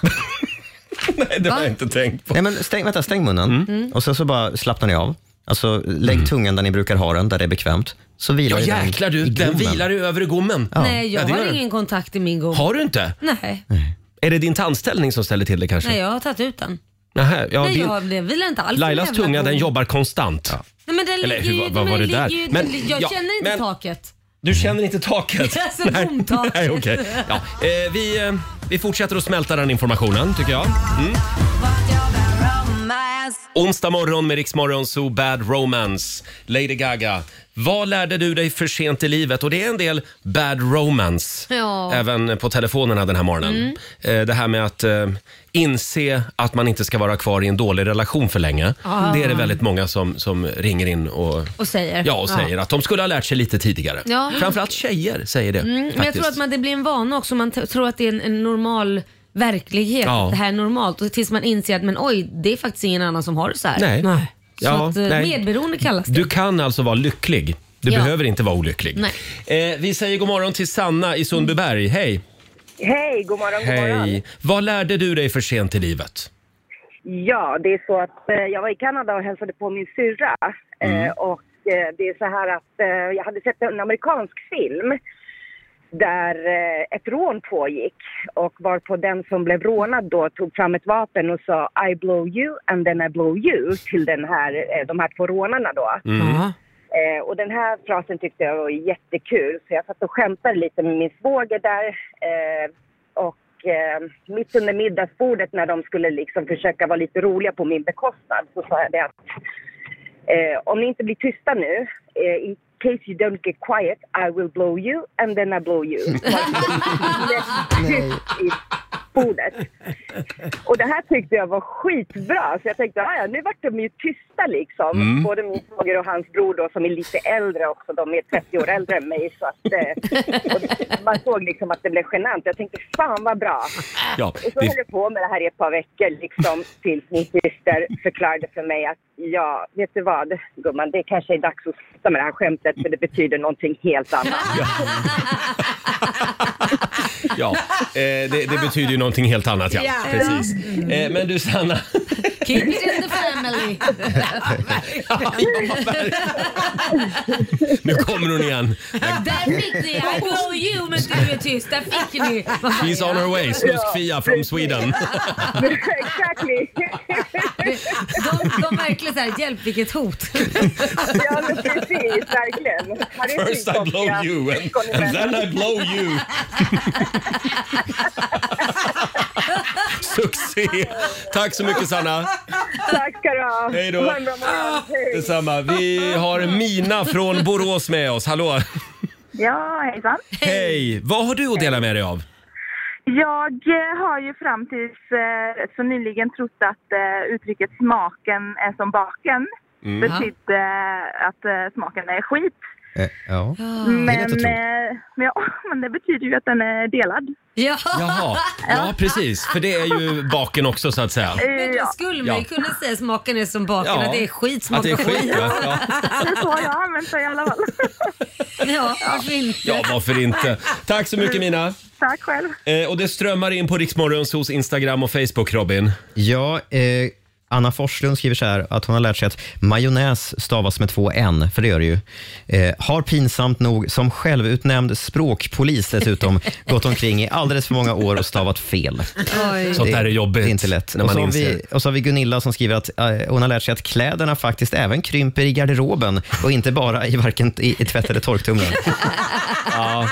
Nej, det har jag inte tänkt på. Nej, men stäng, vänta, stäng munnen Mm. och sen så bara slappnar ni av. Alltså, lägg tungan där ni brukar ha den, där det är bekvämt. Så vilar Mm. Ja, ju jäklar den du. i Den gommen. vilar ju över gommen. Nej, jag det gör har den. ingen kontakt i min gom. Har du inte? Nej. Är det din tandställning som ställer till det kanske? Nej, jag har tagit ut den. Nähä, ja, Nej, din- jag det vilar inte alls. i Lailas jävla tunga gom. den jobbar konstant. Nej, men den Eller ligger hur, ju... vad- vad var den det där? ligger ju- Men- jag ja, känner inte men- taket. Du känner inte taket? *laughs* Alltså, bomtaket. Nej, okej. ja. eh, vi, eh, vi fortsätter att smälta den informationen tycker jag. Mm. Onsdag morgon med Riksmorgon Zoo Bad Romance. Lady Gaga, vad lärde du dig för sent i livet? Och det är en del bad romance. Ja. Även på telefonerna den här morgonen. Mm. Eh, Det här med att eh, inse att man inte ska vara kvar i en dålig relation för länge. Ah. Det är det väldigt många som, som ringer in och, Och säger. ja, och säger att de skulle ha lärt sig lite tidigare. Ja. Framförallt tjejer säger det. Mm, men jag faktiskt. tror att man, det blir en vana också. Man t- tror att det är en, en normal verklighet. Ja. att Det här är normalt. Och tills man inser att men oj, det är faktiskt ingen annan som har det så här. Nej. Nej. Så Ja, att, eh, nej. medberoende kallas det. Du kan alltså vara lycklig. Du Ja. behöver inte vara olycklig. Nej. Eh, vi säger god morgon till Sanna i Sundbyberg. Hej! Hej, god morgon, god morgon. Hej! Vad lärde du dig för sent i livet? Ja, det är så att eh, jag var i Kanada och hälsade på min syrra. Eh, Mm. och eh, det är så här att eh, jag hade sett en amerikansk film där eh, ett rån pågick och varpå den som blev rånad då tog fram ett vapen och sa I blow you and then I blow you till den här, eh, de här två rånarna då. Mm. Mm. Eh, och den här frasen tyckte jag var jättekul så jag satt och skämtade lite med min svåger där. Eh, och eh, mitt under middagsbordet när de skulle liksom försöka vara lite roliga på min bekostnad så sa jag det att eh, om ni inte blir tysta nu, eh, in case you don't get quiet I will blow you and then I blow you. Så att det blev tyst i bordet. Och det här tyckte jag var skitbra så jag tänkte "Ah, ja, nu vart de ju tysta liksom. Mm. Både min svåger och hans bror då som är lite äldre också, de är 30 år äldre än mig så att eh, och man såg liksom att det blev genant. Jag tänkte fan vad bra. Ja, och så det- höll jag på med det här i ett par veckor liksom tills min syster förklarade för mig att ja, vet du vad gumman, det kanske är dags att sluta med det här skämtet för det betyder någonting helt annat. Ja, eh, det, det betyder ju någonting helt annat. Ja. Ja. Precis. Eh, men du Sanna, Keep it in the family. nu kommer hon igen. Ah, Där fick ni! I blow you men du är tyst. Där fick ni. She's on her way, snusk-Fia from Sweden. *laughs* exactly. *laughs* De, de verkligen såhär, hjälp vilket hot. ja men precis, verkligen. Ja, det är First I skitkonstiga blow you and, syskon i and världen. then I blow you. Succé! Tack så mycket Sanna. Tack ska du ha. Hej då. Ha en bra morgon. Hej. Detsamma. Vi har Mina från Borås med oss. Hallå! Ja, hejsan. Hej! Vad har du att dela med dig av? Jag eh, har ju fram tills eh, så nyligen trott att eh, uttrycket smaken är som baken Mm. betydde att eh, smaken är skit. Eh, ja. Ah. Men, Det är lätt att tro. eh, men, ja, *laughs* men det betyder ju att den är delad. *laughs* Ja. Jaha, ja precis. För det är ju baken också så att säga. Eh, Men jag skulle man ju kunna säga smaken är som baken, Ja. att det är skit, smakar Att det är skit, skit. va? Ja. *laughs* Det är så jag har använt det i alla fall. Ja, varför inte? Ja, varför inte? Tack så mycket Mina. Tack själv. Eh, och det strömmar in på Riksmorgons hos Instagram och Facebook Robin. Ja, eh, Anna Forslund skriver så här att hon har lärt sig att majonnäs stavas med två n, för det gör det ju. Eh, har pinsamt nog som självutnämnd språkpolis *laughs* dessutom gått omkring i alldeles för många år och stavat fel. Oj. Sånt där är jobbigt. Det är inte lätt. när man och, så har inser. vi, och så har vi Gunilla som skriver att eh, hon har lärt sig att kläderna faktiskt även krymper i garderoben och inte bara i varken i, i tvätt eller *laughs* torktumlaren. Ja,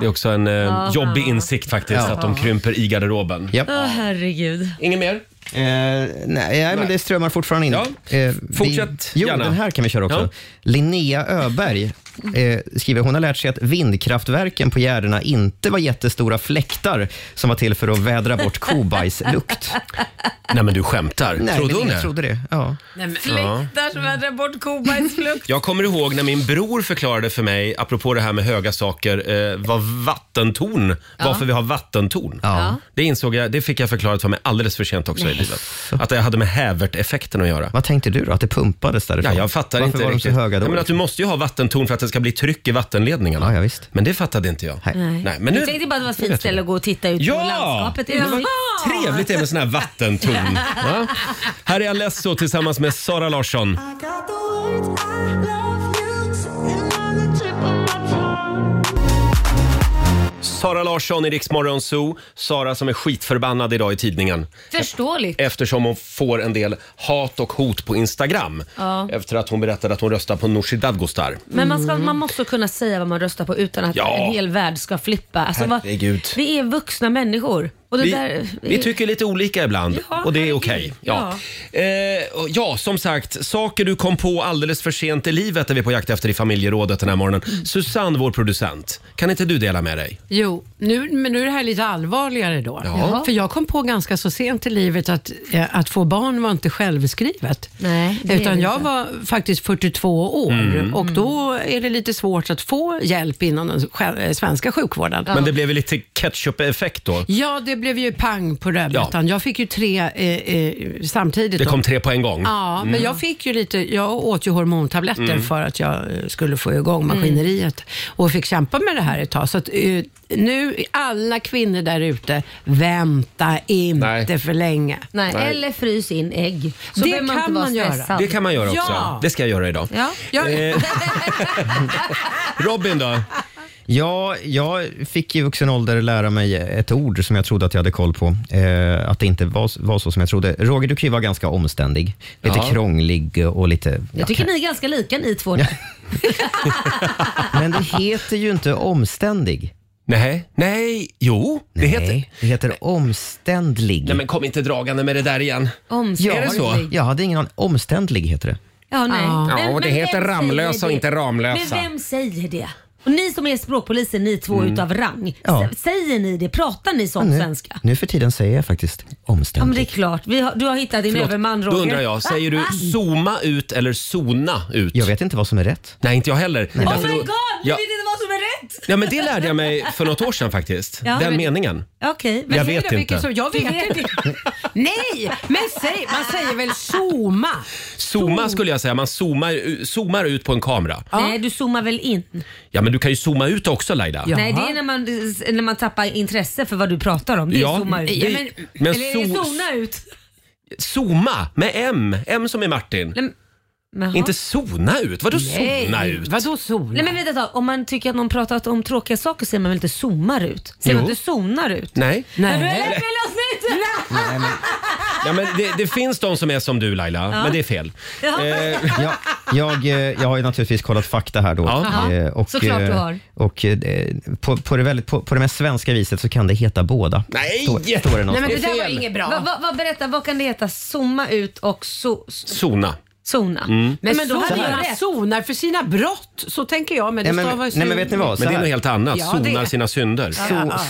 det är också en eh, Ja. jobbig insikt faktiskt Ja. att de krymper i garderoben. Åh herregud. Inget mer? Eh, nej, men det strömmar fortfarande in. Eh, fortsätt vi, jo, gärna. den här kan vi köra också. Linnea Öberg eh, skriver, hon har lärt sig att vindkraftverken på Gärdena inte var jättestora fläktar som var till för att vädra *laughs* bort kobajslukt. *laughs* Nej, men du skämtar. Nej, Trodde men hon ingen det? trodde det. Ja. Ja. Fläktar som vädrar bort kobajslukt. Jag kommer ihåg när min bror förklarade för mig, apropå det här med höga saker, eh, vad vattentorn, Ja. varför vi har vattentorn. Ja. Det insåg jag, det fick jag förklarat för mig alldeles för sent också i Nej. livet. Att det hade med häverteffekten att göra. Vad tänkte du då? Att det pumpades därifrån? Ja, jag fattar Varför inte var de riktigt. så höga då? Ja, men att du måste ju ha vattentorn för att det ska bli tryck i vattenledningarna. Ja, visst. Men det fattade inte jag. *laughs* Nej, men Jag nu, tänkte bara att det var ett fint ställe att gå och titta ut Ja! på landskapet. Det var Jaha! Trevligt det med sån här vattentorn. Va? Här är Alesso tillsammans med Sara Larsson. Sara Larsson i Rix Morgon Zoo. Sara som är skitförbannad idag i tidningen. Förståeligt. Eftersom hon får en del hat och hot på Instagram. Ja. Efter att hon berättade att hon röstar på Nooshi Dadgostar. Men man, ska, man måste kunna säga vad man röstar på utan att Mm. Ja. en hel värld ska flippa. Alltså, vad, Herregud. vi är vuxna människor. Och det vi, där, vi tycker lite olika ibland Ja, och det är herregud. okej. Ja. Eh, och ja, som sagt, saker du kom på alldeles för sent i livet är vi på jakt efter i familjerådet den här morgonen. Mm. Susanne, vår producent, kan inte du dela med dig? Jo, nu, men nu är det här lite allvarligare då. Ja. För jag kom på ganska så sent i livet att, eh, att få barn var inte självskrivet. Nej, det är Utan det jag inte. var faktiskt 42 år Mm. och då är det lite svårt att få hjälp inom den sj- eh, svenska sjukvården. Men det blev ju lite ketchup-effekt då. Ja, det blev ju pang på rödbetan. Jag fick ju tre eh, eh, samtidigt. Det då. kom tre på en gång. Ja, Mm. men jag fick ju lite, jag åt ju hormontabletter Mm. för att jag eh, skulle få igång maskineriet och fick kämpa med det här ett tag. Så att, eh, nu, alla kvinnor där ute, vänta inte för länge. Nej, eller frys in ägg. Så Det behöver man kan inte vara man göra. stressad. Det kan man göra också. Ja. Det ska jag göra idag. Ja. *laughs* Eh, Robin då? Ja, jag fick i vuxen ålder lära mig ett ord som jag trodde att jag hade koll på. Eh, att det inte var, var så som jag trodde. Roger, du kan ju vara ganska omständig. Lite Ja. krånglig och lite... Jag tycker ni är ganska lika ni två. Men det heter ju inte omständig. Nej, nej, jo. Det, heter... det heter omständlig. Nej men kom inte dragande med det där igen. Omständlig. *laughs* Är det så? Jag hade ingen aning. Omständlig heter det. Ja, nej. Ja, Men- och det men heter vem Ramlösa säger och det? inte Ramlösa. Men vem säger det? Och ni som är språkpoliser, ni två Mm. utav rang. Ja. S- Säger ni det? Pratar ni sån nu, svenska? nu för tiden säger jag faktiskt Ja, men det omständig. är klart. Vi har, du har hittat din överman då Roger. undrar *laughs* jag, säger du zooma ut eller zona ut? Jag vet inte vad som är rätt. Nej, inte jag heller. Oh Därför my då- god, ni Ja, vet inte vad som är rätt! ja, men det lärde jag mig för något år sedan faktiskt. Ja, Den men- meningen. Okej. men Jag säg vet då vilken inte. som- jag vet *laughs* inte. Nej, men säg, man säger väl zooma? Zooma skulle jag säga, man zoomar, u- zoomar ut på en kamera. Nej, du zoomar väl in? Ja, men du kan ju zooma ut också Laila. Nej, det är när man, när man tappar intresse för vad du pratar om. Det är Ja, zooma ut. det- Ja, men- men Eller zo- zona ut. Zooma med M, M som är Martin. Jaha. Inte zona ut, vadå Nej. zona ut? Vadå zona? Nej men vänta ett tag. om man tycker att någon pratat om tråkiga saker säger man väl inte zoomar ut? Säger man Jo. inte zonar ut? Nej. Men du har lärt mig lösningen! Ja, men det, det finns de som är som du Laila, Ja. men det är fel. Ja. Eh, Ja, jag, eh, jag har ju naturligtvis kollat fakta här då. Ja. Eh, Och, Såklart eh, du har. Och eh, på, på, det väldigt, på, på det mest svenska viset så kan det heta båda. Nej! Står, står det någonstans. inget bra. Va, va, va, berätta, vad kan det heta? Zooma ut och so, Zona. Sona. Mm. Men, Men då hade sonar, jag rätt. sonar för sina brott, så tänker jag. Men det Nej, men- stavar ju nej, men sona. vet ni vad? Så Men det är här. något helt annat. Ja, det- Sonar sina synder. So,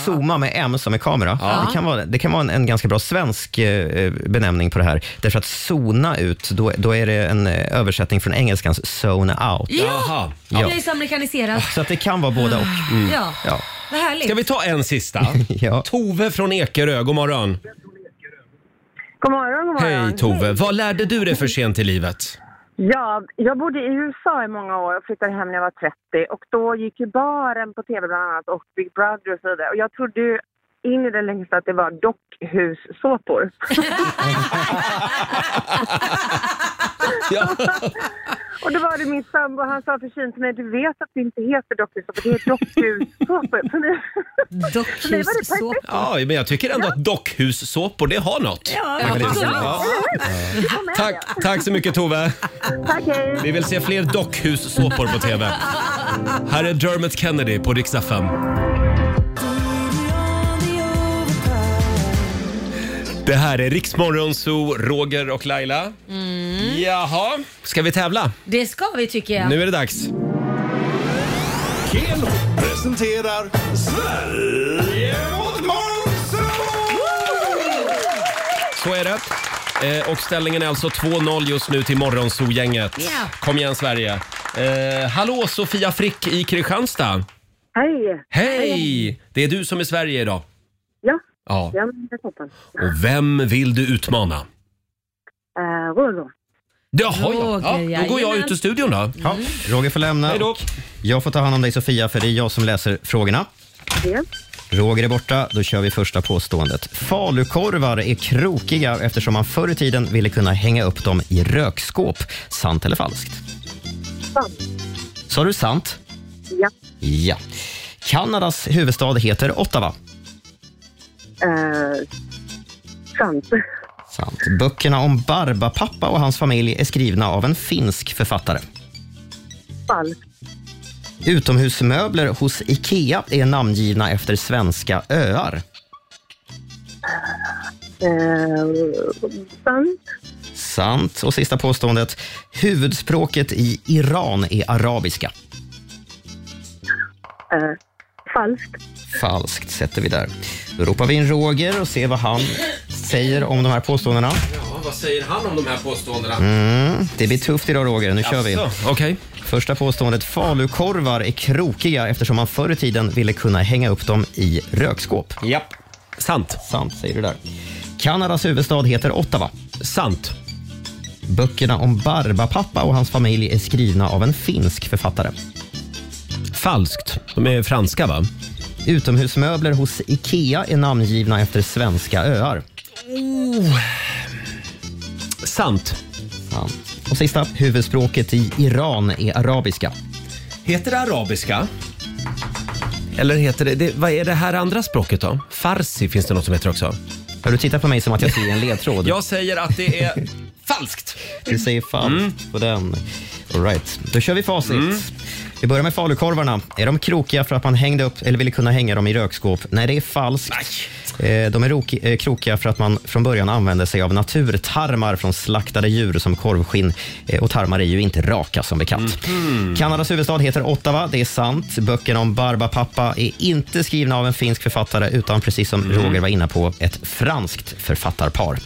Zooma med M som är kamera. Ja. Det kan vara, det kan vara en, en ganska bra svensk eh, benämning på det här. Därför att zona ut, då, då är det en eh, översättning från engelskans zone out. Ja, Ja. jag är så amerikaniserad. Så att det kan vara båda och. Ja, Ja. vad härligt. Ska vi ta en sista? Tove från Ekerö, god morgon. God morgon, god morgon. Hej Tove. Vad lärde du dig för sent i livet? Ja, jag bodde i USA i många år och flyttade hem när jag var 30. Och då gick ju baren på tv bland annat och Big Brother och så vidare. Och jag trodde ju in i det längsta att det var dockhussåpor. *laughs* *laughs* och då var det min sambo, han sa försynt till mig, du vet att det inte heter dockhussåpor, det är dockhussåpor. För *laughs* mig- för mig var det perfekt. Ja, men jag tycker ändå att dockhussåpor, det har något. Ja, Det kan absolut. jag säga. Tack, tack så mycket Tove. Tack, hej. Vi vill se fler dockhussåpor på TV. Här är Dermot Kennedy på riksdag 5. Det här är Riksmorgon Zoo, Roger och Laila. Mm. Jaha, ska vi tävla? Det ska vi tycker jag. Nu är det dags. Keno presenterar Sverige mot Monzo! Så är det. Eh, och ställningen är alltså 2-0 just nu till Morgonzoo-gänget. Ja. Kom igen Sverige. Eh, hallå Sofia Frick i Kristianstad. Hej! Hej! Det är du som är Sverige idag. Ja, Ja. ja men det är toppen. Och vem vill du utmana? Eh, Roger. Jaha, ja. Roger, ja. Då går jag jajamän. ut ur studion då. Ja, Roger får lämna. Hej då. Jag får ta hand om dig Sofia, för det är jag som läser frågorna. Ja. Roger är borta, då kör vi första påståendet. Falukorvar är krokiga eftersom man förr i tiden ville kunna hänga upp dem i rökskåp. Sant eller falskt? Sant. Sa du sant? Ja. Ja. Kanadas huvudstad heter Ottawa. Eh, sant. Sant. Böckerna om Barbapapa och hans familj är skrivna av en finsk författare. Falskt. Utomhusmöbler hos IKEA är namngivna efter svenska öar. Eh, sant. Sant. Och sista påståendet. Huvudspråket i Iran är arabiska. Eh, falskt. Falskt sätter vi där. Då ropar vi in Roger och ser vad han säger om de här påståendena. Ja, vad säger han om de här påståendena? Mm, det blir tufft idag Roger, nu kör vi. Jaså, okej. Första påståendet. Falukorvar är krokiga eftersom man förr i tiden ville kunna hänga upp dem i rökskåp. Japp. Sant. Sant säger du där. Kanadas huvudstad heter Ottawa. Sant. Böckerna om Barbapapa och hans familj är skrivna av en finsk författare. Falskt. De är franska va? Utomhusmöbler hos IKEA är namngivna efter svenska öar. Sant. Sant. Och sista, huvudspråket i Iran är arabiska. Heter det arabiska? Eller heter det, det... Vad är det här andra språket då? Farsi finns det något som heter också. Har du tittat på mig som att jag ser en ledtråd? Jag säger att det är falskt. Du säger falskt på den. All right. Då kör vi facit. Vi börjar med falukorvarna. Är de krokiga för att man hängde upp eller ville kunna hänga dem i rökskåp? Nej, det är falskt. Eh, De är roki- eh, krokiga för att man från början använde sig av naturtarmar från slaktade djur som korvskinn. Eh, Och tarmar är ju inte raka som bekant. Kanadas huvudstad heter Ottawa, det är sant. Böckerna om Barbapapa är inte skrivna av en finsk författare utan precis som Roger var inne på, ett franskt författarpar.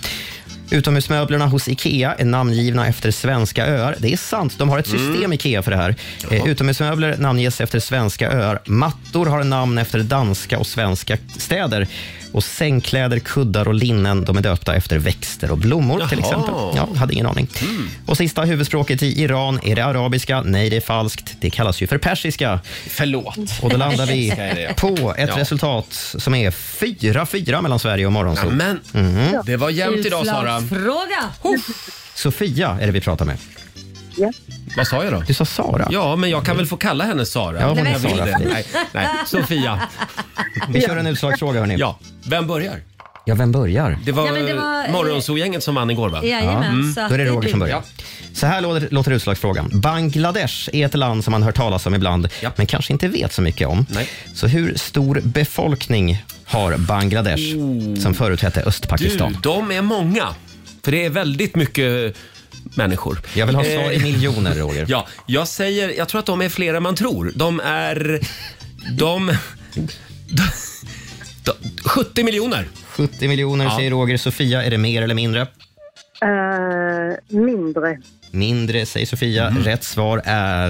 Utomhusmöblerna hos IKEA är namngivna efter svenska öar. Det är sant, de har ett system IKEA för det här. Eh, utomhusmöbler namnges efter svenska öar. Mattor har namn efter danska och svenska städer. Och sängkläder, kuddar och linnen, de är döpta efter växter och blommor till Jaha. exempel. Ja, hade ingen aning. Och sista huvudspråket i Iran, är det arabiska? Nej, det är falskt. Det kallas ju för persiska. Förlåt. Och då landar vi Ska jag det, ja. på ett Ja. resultat som är 4-4 mellan Sverige och Morgonzoo. Amen. Mhm. Mm. Det var jämnt idag Sara. Utslagsfråga. Sofia är det vi pratar med. Vad sa jag då? Du sa Sara. Ja, men jag kan väl få kalla henne Sara? Ja, hon om är jag vill Sara det. för dig. Nej, *laughs* nej, Sofia. Vi kör en utslagsfråga hörni. Ja, vem börjar? Ja, vem börjar? Det var, Ja, men det var- ja, Morgonzoo-gänget som vann igår va? Jajamän, så att Mm. Då är det det är Roger som du. börjar. Så här låter, låter utslagsfrågan. Bangladesh är ett land som man hör talas om ibland, men kanske inte vet så mycket om. Så hur stor befolkning har Oh. Bangladesh, som förut hette Du, Östpakistan? de är många. För det är väldigt mycket människor. Eh, Jag vill ha svar i miljoner, Roger. *laughs* Ja, jag säger, jag tror att de är fler än man tror. De är, de, de, de 70 miljoner. 70 miljoner säger Roger. Sofia, är det mer eller mindre? eh, mindre. Mindre säger Sofia. Mm. Rätt svar är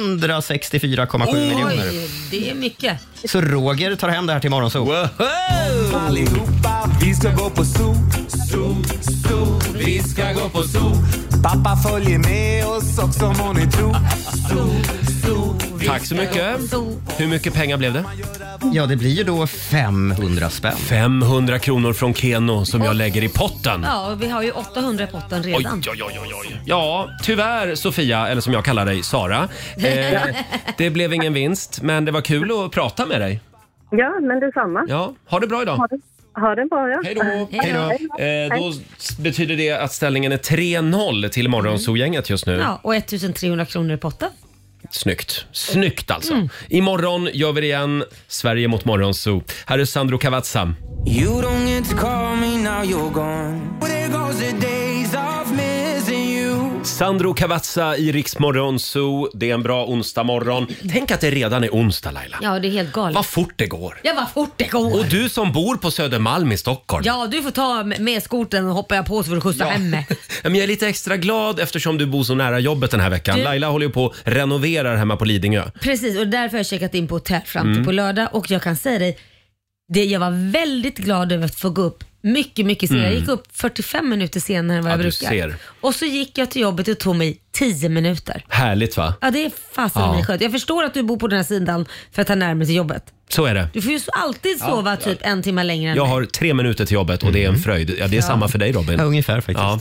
164,7 miljoner. det är mycket. Så Roger tar hem det här till Morgonzoo. Allihopa, vi ska gå på zoo, zoo, zoo. Vi ska gå på zoo. Pappa följer med oss också må ni tro. Zoo, zoo. vi Tack så ska mycket. gå på zoo. Hur mycket pengar blev det? Ja, det blir ju då 500 spänn. 500 kronor från Keno som jag lägger i potten. Ja, och vi har ju 800 i potten redan. Oj, oj, oj, Ja, tyvärr Sofia, eller som jag kallar dig, Sara. Eh, det blev ingen vinst, men det var kul att prata med dig. Ja, men detsamma. Ja, ha det bra idag. Ha, det, ha det bra. Ja. Hej då. Hej då. Eh, då s- betyder det att ställningen är 3-0 till Morgonzoo-gänget just nu. Ja, och 1300 kronor i potten. Snyggt. Snyggt alltså. Mm. Imorgon gör vi det igen. Sverige mot Morgonzoo. Här är Sandro Cavazza. You don't get to call me now you're gone. There goes the days of missing you. Sandro Cavazza i Rix Morgonzoo. Det är en bra onsdag morgon. Tänk att det redan är onsdag Laila. Ja, det är helt galet. Vad fort det går. Ja, vad fort det går. Och du som bor på Södermalm i Stockholm. Ja, du får ta m- med skoten och hoppar jag på så får du skjutsa hem *laughs* mig. Ja, Men jag är lite extra glad eftersom du bor så nära jobbet den här veckan. Du- Laila håller ju på och renoverar hemma på Lidingö. Precis, och därför har jag checkat in på hotell fram till Mm. på lördag och jag kan säga dig, det, jag var väldigt glad över att få gå upp mycket, mycket senare. Mm. Jag gick upp 45 minuter senare än vad Ja, jag du brukar. ser. Och så gick jag till jobbet och tog mig 10 minuter. Härligt va? Ja, det är fasen Ja. mig skönt. Jag förstår att du bor på den här sidan för att ta närmare till jobbet. Så är det. Du får ju så- alltid Ja, sova ja. typ en timme längre än Jag mig. har tre minuter till jobbet och det är en fröjd. Ja, det är Mm. Ja. samma för dig Robin. Ja, ungefär faktiskt. Ja,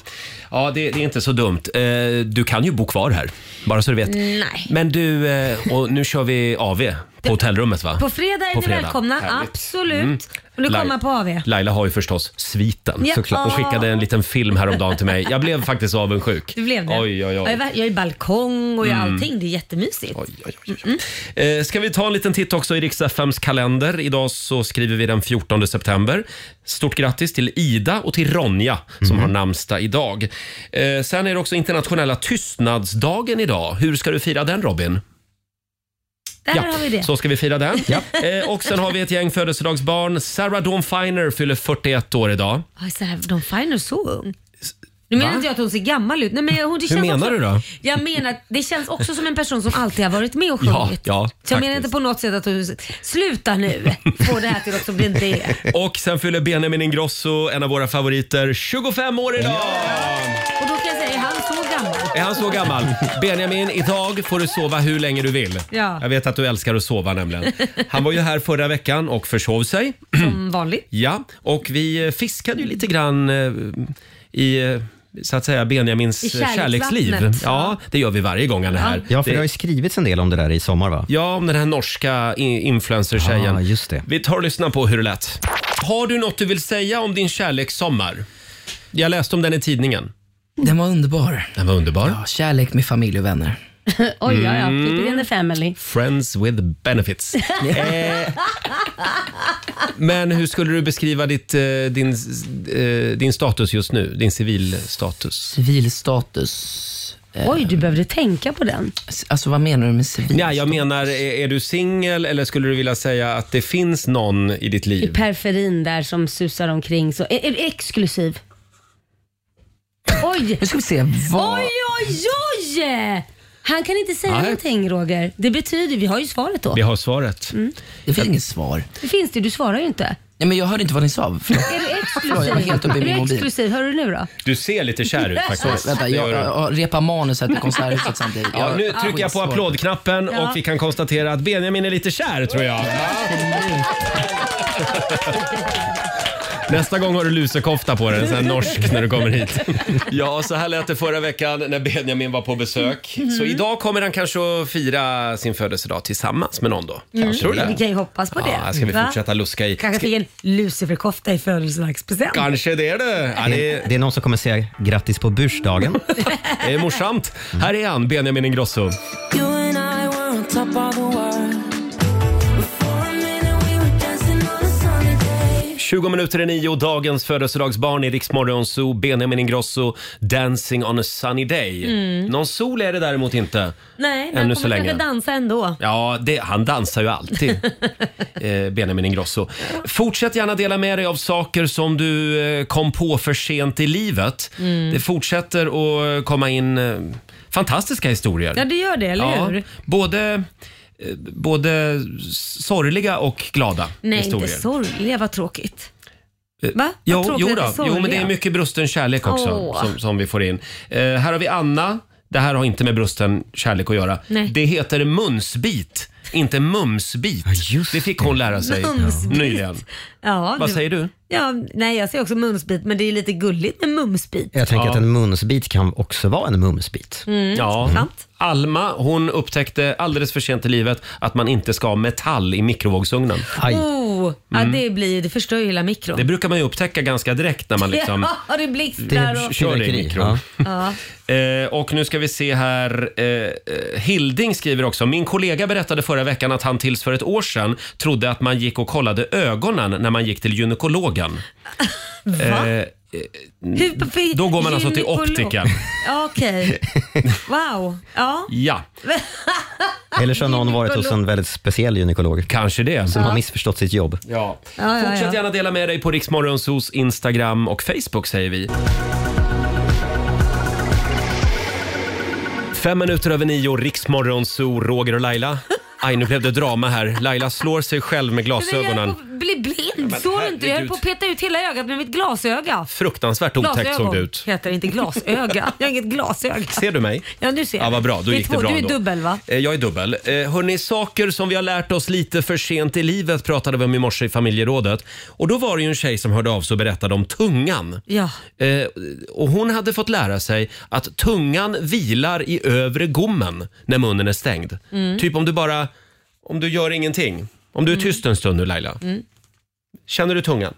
ja det, det är inte så dumt. Eh, Du kan ju bo kvar här, bara så du vet. Nej. Men du, eh, och nu kör vi AV på hotellrummet va? På fredag är På ni fredag. välkomna, Härligt. absolut. Mm. Och du Lai- kommer på AV. Laila har ju förstås sviten Ja. såklart. och skickade en liten film häromdagen till mig. Jag blev faktiskt avundsjuk. Du blev det. Oj, oj, Ja, oj. Jag var- jag är i balkong och jag Mm. allting. Det är jättemysigt. Eh, ska vi ta en liten titt också i Riks-FMs kalender? Idag så skriver vi den 14 september. Stort grattis till Ida och till Ronja som har namnsdag idag. Eh, sen är det också internationella tystnadsdagen idag. Hur ska du fira den Robin? Där har vi det. Så ska vi fira den. Eh, och sen har vi ett gäng födelsedagsbarn. Sarah Dawn Finer fyller 41 år idag. Oj, så här, de Fine är så ung. Nu menar Va? inte jag att hon ser gammal ut. Nej, men hon, det Hur känns menar också, du då? Jag menar att det känns också som en person som alltid har varit med och Ja, sjungit. ja, så jag menar inte på något sätt att hon sluta *laughs* nu. Få det här till något som det inte är. Och sen fyller Benjamin Ingrosso, en av våra favoriter, 25 år idag! Och då kan jag säga, är han så *laughs* gammal? Är han så gammal? Benjamin, idag får du sova hur länge du vill. Ja. Jag vet att du älskar att sova nämligen. Han var ju här förra veckan och försov sig. *clears throat* Som vanligt. Ja, och vi eh, fiskade ju lite grann eh, i eh, så att säga Benjamins I eh, kärleksliv. kärleksvattnet. Ja, det gör vi varje gång han är här. Ja, för det har det, ju skrivits en del om det där i sommar, va? ja om den här norska i- influencertjejen. Ja, just det. Vi tar och lyssnar på hur det lät. Har du något du vill säga om din kärlekssommar? Jag läste om den i tidningen. Den var underbar. Den var underbar. Ja, kärlek med familj och vänner. *laughs* Oj, ja, ja. Mm. Keep it in the family. Friends with benefits. eh, men hur skulle du beskriva ditt, eh, din, eh, din status just nu? Din civilstatus? Civilstatus. *laughs* Eh, Oj, du behövde tänka på den. Alltså vad menar du med civil? Ja, jag menar, är, är du singel eller skulle du vilja säga att det finns någon i ditt I liv? periferin där som susar omkring. Så, är, är du exklusiv? Oj! Nu ska vi se vad... Oj, oj, oj! Han kan inte säga Nej. någonting Roger. Det betyder, vi har ju svaret då. Vi har svaret. Mm. Det finns inget svar. Det finns det, du svarar ju inte. Nej, men jag hörde inte vad ni sa. Förlåt. Är du Förlåt, jag var exklusiv? helt uppe i är du min mobil. exklusiv? Hör du nu då? Du ser lite *laughs* kär ut faktiskt. Vänta, Det jag, gör du. jag repar manus här till konserthuset samtidigt. Ja, nu trycker jag på applådknappen Ja. och vi kan konstatera att Benjamin är lite kär tror jag. Nästa gång har du lusekofta på dig, en sån här norsk när du kommer hit. *laughs* Ja, så här lät det förra veckan när Benjamin var på besök. Mhm. Så idag kommer han kanske att fira sin födelsedag tillsammans med någon då. Kanske Mm. tror du Vi det? kan ju hoppas på Mm. det. Ja, här ska vi Va? fortsätta luska i. Kanske fick en luciferkofta i födelsedagspresent. Kanske det är det. Ja, det, är, det är någon som kommer säga grattis på bursdagen. *laughs* det är morsamt. Här är han, Benjamin Ingrosso. You and I were on top of the world. For a minute we were dancing on a sunny day. 20 minuter i nio, dagens födelsedagsbarn i Riksmorgon Zoo, Benjamin Ingrosso, Dancing on a sunny day. Mm. Någon sol är det däremot inte. Nej, men Ännu han så kommer länge. kanske dansa ändå. Ja, det, han dansar ju alltid, *laughs* eh, Benjamin Ingrosso. Fortsätt gärna dela med dig av saker som du eh, kom på för sent i livet. Mm. Det fortsätter att komma in eh, fantastiska historier. Ja, det gör det, eller Ja, hur? Både, eh, både sorgliga och glada Nej, historier. inte sorgliga. Vad tråkigt. Va? Vad Eh, Jo, tråkigt jo, att det är då. jo, men det sorgliga. är mycket brusten kärlek också Åh. som, som vi får in. Eh, här har vi Anna. Det här har inte med brusten kärlek att göra. Nej. Det heter munsbit, inte mumsbit. det fick hon lära sig Mumsbit. nyligen. Ja, Mm, Vad säger du? Ja, nej, jag säger också mumsbit, men det är ju lite gulligt med mumsbit. Jag tänker att en munsbit kan också vara en mumsbit. Mm, Ja. sant. Alma hon upptäckte alldeles för sent i livet att man inte ska ha metall i mikrovågsugnen. Oh, ja, Mm. det, blir, det förstör ju hela mikron. Det brukar man ju upptäcka ganska direkt när man liksom *laughs* Ja, det blixtrar och... kör i mikron. Ja. Eh, och nu ska vi se här. Eh, eh, Hilding skriver också. Min kollega berättade förra veckan att han tills för ett år sedan trodde att man gick och kollade ögonen när man gick till gynekologen. *laughs* Va? Eh, eh, Hur- för- då går man alltså till gynekolog. optiken. Ja, *laughs* Okej. Wow. Ja. *laughs* Ja. Eller så har någon varit hos en väldigt speciell gynekolog. Kanske det. Som Ja. har missförstått sitt jobb. Ja. ja, ja. Fortsätt gärna dela med dig på Riksmorgonsos Instagram och Facebook säger vi. Fem minuter över nio, Riksmorgonso, Roger och Laila. Aj, nu blev det drama här. Laila slår sig själv med Alltså, glasögonen. Bli blind, men såg du inte? Jag höll herregud. på att peta ut hela ögat med mitt glasöga. Fruktansvärt otäckt såg det ut. heter det, inte *laughs* glasöga. Jag har inget glasöga. Ser du mig? Ja, nu ser Ja, vad bra. Då Vi gick det två. bra Du är ändå. dubbel va? Eh, Jag är dubbel. Eh, Hörni, saker som vi har lärt oss lite för sent i livet pratade vi om i morse i familjerådet. Och då var det ju en tjej som hörde av sig och berättade om tungan. Ja. Eh, och hon hade fått lära sig att tungan vilar i övre gommen när munnen är stängd. Mm. Typ om du bara, om du gör ingenting. Om du är tyst en stund nu Laila. Mm. Känner du tungan?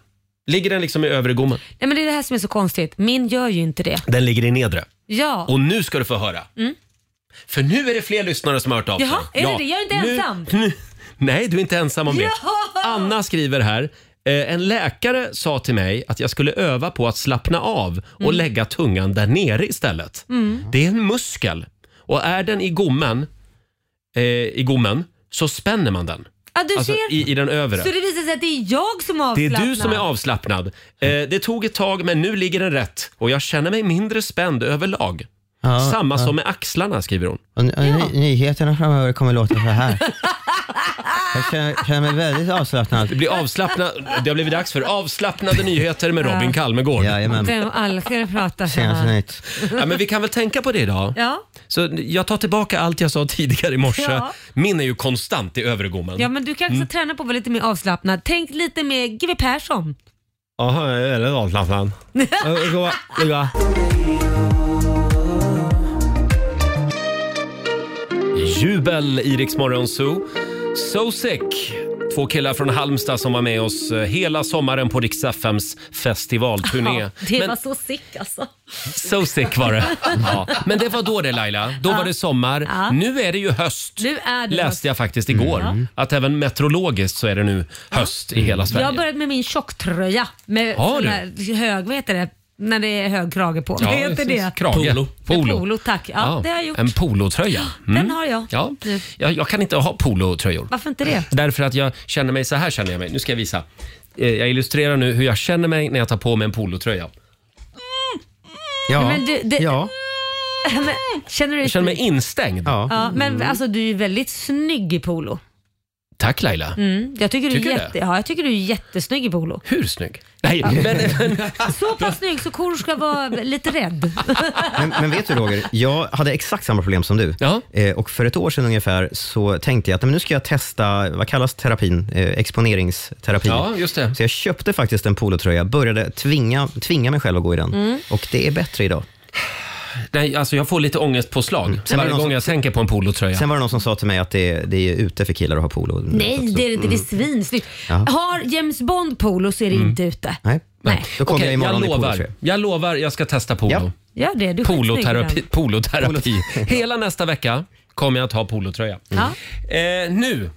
Ligger den liksom i övre gommen? Nej, men det är det här som är så konstigt. Min gör ju inte det. Den ligger i nedre. Ja. Och nu ska du få höra. Mm. För nu är det fler lyssnare som har hört av sig. Jaha, är det det? Jag är inte nu, ensam. *laughs* Nu, nej, du är inte ensam om det. Ja! Anna skriver här. eh, En läkare sa till mig att jag skulle öva på att slappna av och Mm. lägga tungan där nere istället. Mm. Det är en muskel och är den i gommen, eh, i gommen så spänner man den. Ja, du alltså ser. I, i den övre. Så det visar sig att det är jag som Det avslappnar. är du som är avslappnad. Eh, det tog ett tag, men nu ligger den rätt och jag känner mig mindre spänd överlag. Ja, Samma ja. som med axlarna, skriver hon. Och, ny- och ny, nyheterna framöver kommer låta så här. *laughs* Jag känner, känner mig väldigt Det, avslappnad. blir avslappna, det har blivit dags för avslappnade nyheter med Robin Ja. Kalmegård. Vem alkar *laughs* pratar så Senaste här? nytt. Ja, men vi kan väl tänka på det idag. Ja. Så jag tar tillbaka allt jag sa tidigare i morse. Ja. Min är ju konstant i övergommen. ja, men du kanske Mm. ska träna på att vara lite mer avslappnad. Tänk lite mer GW Persson. Jaha, jag är *laughs* väldigt avslappnad. Jubel i Rix Morgon Zoo. So sick. Två killar från Halmstad som var med oss eh, hela sommaren på Rix FMs festivalturné. Ja, det Men var så sick alltså. So sick *laughs* var det. Ja. Men det var då det Laila. Då Ja. var det sommar. Ja. Nu är det ju höst. Nu är det Läste jag faktiskt igår. Mm. Att även meteorologiskt så är det nu höst i hela Jag Sverige. har börjat med min tjocktröja med Har sån du? här hög, vad heter det? När det är hög krage på. vad heter det? Krage. Polo. Polo. Polo, tack. Ja, det har jag gjort. En polotröja. Mm. Den har jag. Ja. Nu. Jag, jag kan inte ha polotröjor. Varför inte det? Därför att jag känner mig, så här känner jag mig. Nu ska jag visa. Eh, Jag illustrerar nu hur jag känner mig när jag tar på mig en polotröja. Ja. Mm. Men du, det- ja. *laughs* Men, känner du dig Jag känner mig snygg? instängd. Ja, Mm. men alltså du är ju väldigt snygg i polo. Tack Laila. Mm, jag tycker du Tycker är du jätte, det? ja, jag tycker du är jättesnygg i polo. Hur snygg? Nej, *laughs* men, *laughs* Så pass snygg så kor ska vara lite rädd. Men, men vet du Roger, jag hade exakt samma problem som du. Eh, och för ett år sedan ungefär så tänkte jag att men nu ska jag testa, vad kallas terapin? Eh, exponeringsterapi. Ja, just det. Så jag köpte faktiskt en polotröja, började tvinga, tvinga mig själv att gå i den. Mm. Och det är bättre idag. Mm. Nej, alltså jag får lite ångestpåslag Sen var det varje någon gång som- jag tänker på en polotröja. Sen var det någon som sa till mig att det, är- det är ute för killar att ha polo. Nej, det är det inte. Det är svinsnyggt. Ja. Har James Bond polo så är det Mm. inte ute. Nej. Nej. Då kommer Okej, jag imorgon i lovar. polotröja. Jag lovar, jag ska testa polo. Gör det. Du är skitsnygg i den. Poloterapi. poloterapi. Hela nästa vecka kommer jag att ha polotröja. Ja. Eh, nu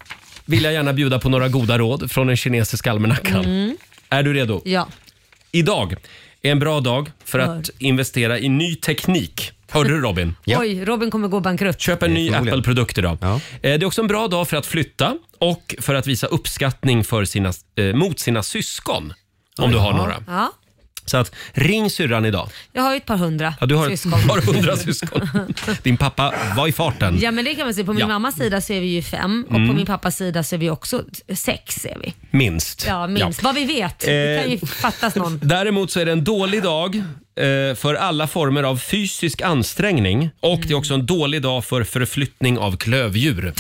vill jag gärna bjuda på några goda råd från den kinesiska almanackan. Mm. Är du redo? Ja. Idag är en bra dag för att investera i ny teknik. Hörde *laughs* du Robin? Oj, Robin kommer gå bankrutt. Köp en ny Apple-produkt idag. Eh, Det är också en bra dag för att flytta och för att visa uppskattning för sina, eh, mot sina syskon. Om du har några. Ja. Så att ring syrran idag. Jag har ju ett par hundra Ja, du har syskon. ett par *laughs* hundra syskon. Din pappa var i farten. Ja men det kan man säga. På min Ja. mammas sida så är vi ju fem och Mm. på min pappas sida så är vi också sex. Är vi. Minst. Ja, minst. Vad vi vet. Eh. Det kan ju fattas någon. Däremot så är det en dålig dag eh, för alla former av fysisk ansträngning och det är också en dålig dag för förflyttning av klövdjur.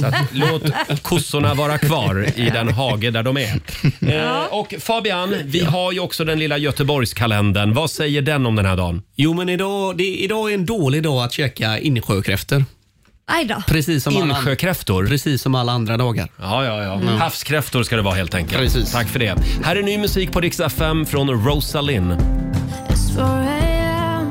Så att, låt kossorna vara kvar i den hage där de är. Eh, Och Fabian, vi har ju också den lilla Göteborgskalendern. Vad säger den om den här dagen? Jo, men idag, det, idag är en dålig dag att käka insjökräftor. Aj då. Precis som alla- Insjökräftor? Precis som alla andra dagar. Ja, ja, ja. Mm. Havskräftor ska det vara helt enkelt. Tack för det. Här är ny musik på Rix FM från Rosalind. It's 4 a.m.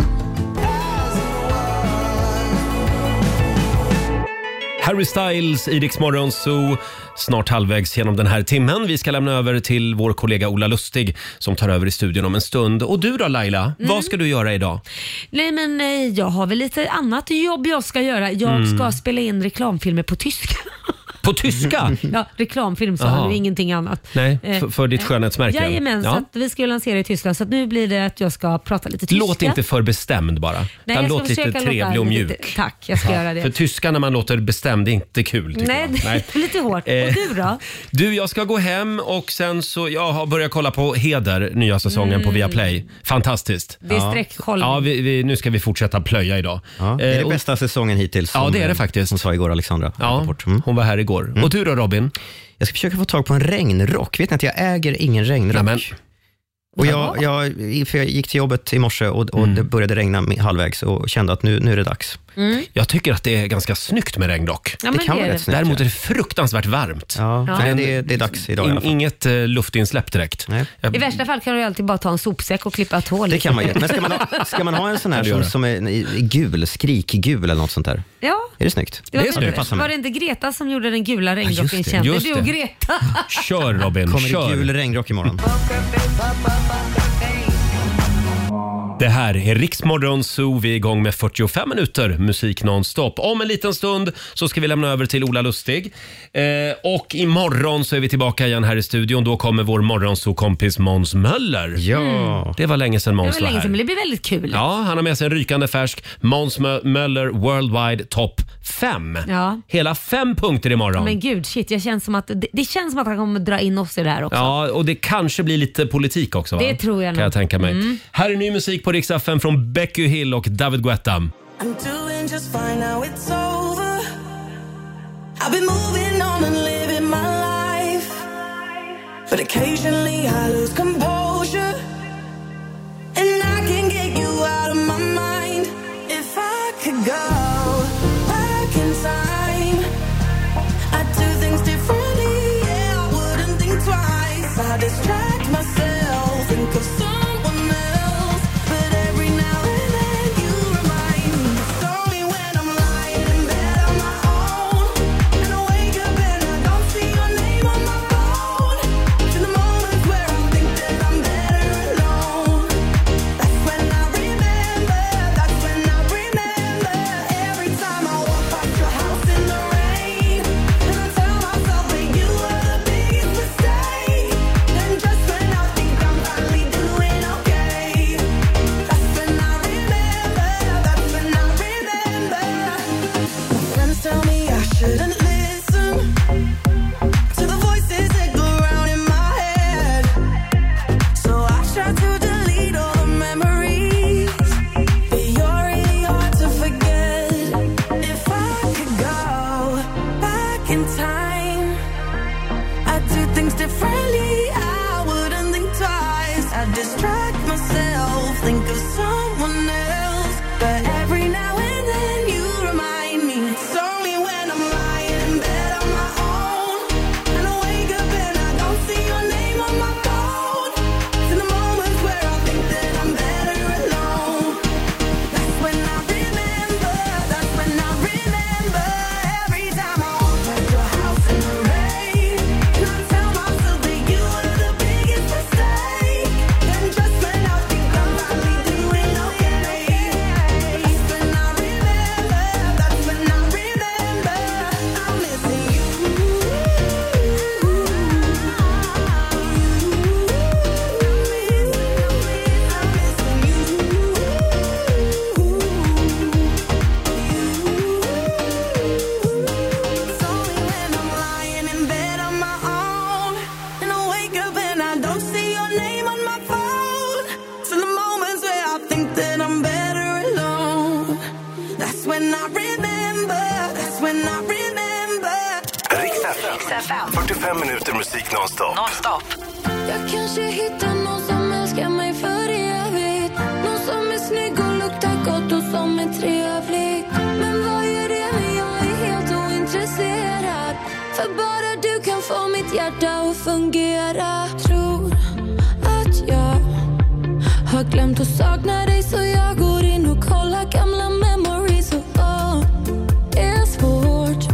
Harry Styles i Rix Morgon Zoo. Snart halvvägs genom den här timmen. Vi ska lämna över till vår kollega Ola Lustig som tar över i studion om en stund. Och du då Laila, Mm. vad ska du göra idag? Nej men eh, jag har väl lite annat jobb jag ska göra. Jag Mm. ska spela in reklamfilmer på tyska. *laughs* På tyska? Ja, reklamfilm sa Jaha. jag nu, ingenting annat. Nej, Eh, för, för ditt skönhetsmärke? Jajamän, så att vi ska ju lansera i Tyskland så att nu blir det att jag ska prata lite tyska. Låt inte för bestämd bara. Nej, utan jag ska låt lite försöka låta trevlig och lite- mjuk. Tack, jag ska Ja, göra det. För tyska när man låter bestämd, det är inte kul tycker Nej, jag. det är *laughs* lite hårt. Eh. Och du då? Du, jag ska gå hem och sen så, jag har börjat kolla på Heder, nya säsongen på Viaplay. Fantastiskt. Mm. Det är streckkoll. Ja, vi, vi, nu ska vi fortsätta plöja idag. Det är Eh, det och- bästa säsongen hittills. Ja, som, det är det eh, faktiskt. Hon sa igår, Alexandra. Mm. Ja, hon var här igår. Och du då Robin? Jag ska försöka få tag på en regnrock. Vet ni att jag äger ingen regnrock? Och jag, jag, för jag gick till jobbet i morse och, Mm. och det började regna mi- halvvägs och kände att nu, nu är det dags. Mm. Jag tycker att det är ganska snyggt med regnrock. Ja, men det kan det vara är rätt det. snyggt. Däremot är det fruktansvärt varmt. Ja, Ja. Nej, det, är- det är dags idag i alla fall. Inget eh, luftinsläpp direkt. Jag- I värsta fall kan du ju alltid bara ta en sopsäck och klippa ett hål. eh, Det kan man göra. Men ska man *laughs* *laughs* ha, ska man ha en sån här Kan du göra? som, som är i- i gul, skrikgul eller något sånt där? Ja. Är det snyggt? Det var, väl- Passar mig. var det inte Greta som gjorde den gula just regnrocken det, känd? just Det är du och det. Greta. *laughs* Kör Mm, Robin, Kommer kör. det gul regnrock imorgon? *laughs* Det här är Riksmorgon Zoo. Vi är igång med 45 minuter musik nonstop. Om en liten stund så ska vi lämna över till Ola Lustig. Eh, och imorgon så är vi tillbaka igen här i studion. Då kommer vår morgonzoo-kompis Måns Möller. Ja. Det var länge sedan Mm. Det Måns var var länge sedan, här. men det blir väldigt kul. Ja, han har med sig en rykande färsk Måns Mö- Möller Worldwide Top 5. Ja. Hela fem punkter imorgon. Men gud, shit. Jag känns som att, det, det känns som att han kommer dra in oss i det här också. Ja, och det kanske blir lite politik också. Va? Det tror jag Kan jag nog. tänka mig. Mm. Här är ny musik på Rix FM från Becky Hill och David Guetta. I'm doing just fine now it's over I've been moving on and living my life But occasionally I lose composure And I can get you out of my mind If I could go back in time I'd do things differently, yeah, I wouldn't think twice I distract myself, think of someone else But every now and then you remind me Tell me when I'm lying in bed on my own And I wake up and I don't see your name on my phone To the moments where I think that I'm better when I remember. Riks FM. 45 minuter musik nonstop. Nonstop. Jag kanske hittar någon som älskar mig för evigt Någon som är snygg och luktar gott och som är trevlig Men vad gör det när jag är helt ointresserad? För bara du kan få mitt hjärta att fungera Tror att jag har glömt att sakna dig så jag går in och kollar gamla memories och åh, det är svårt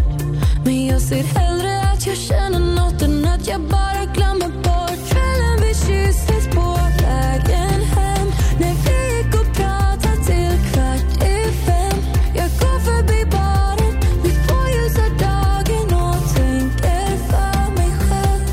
men jag ser hellre att jag känner något än att jag bara glömmer bort Kvällen vi kysstes på vägen hem När vi gick och pratade till kvart i fem Jag går förbi baren, mitt på ljusa dagen och tänker för mig själv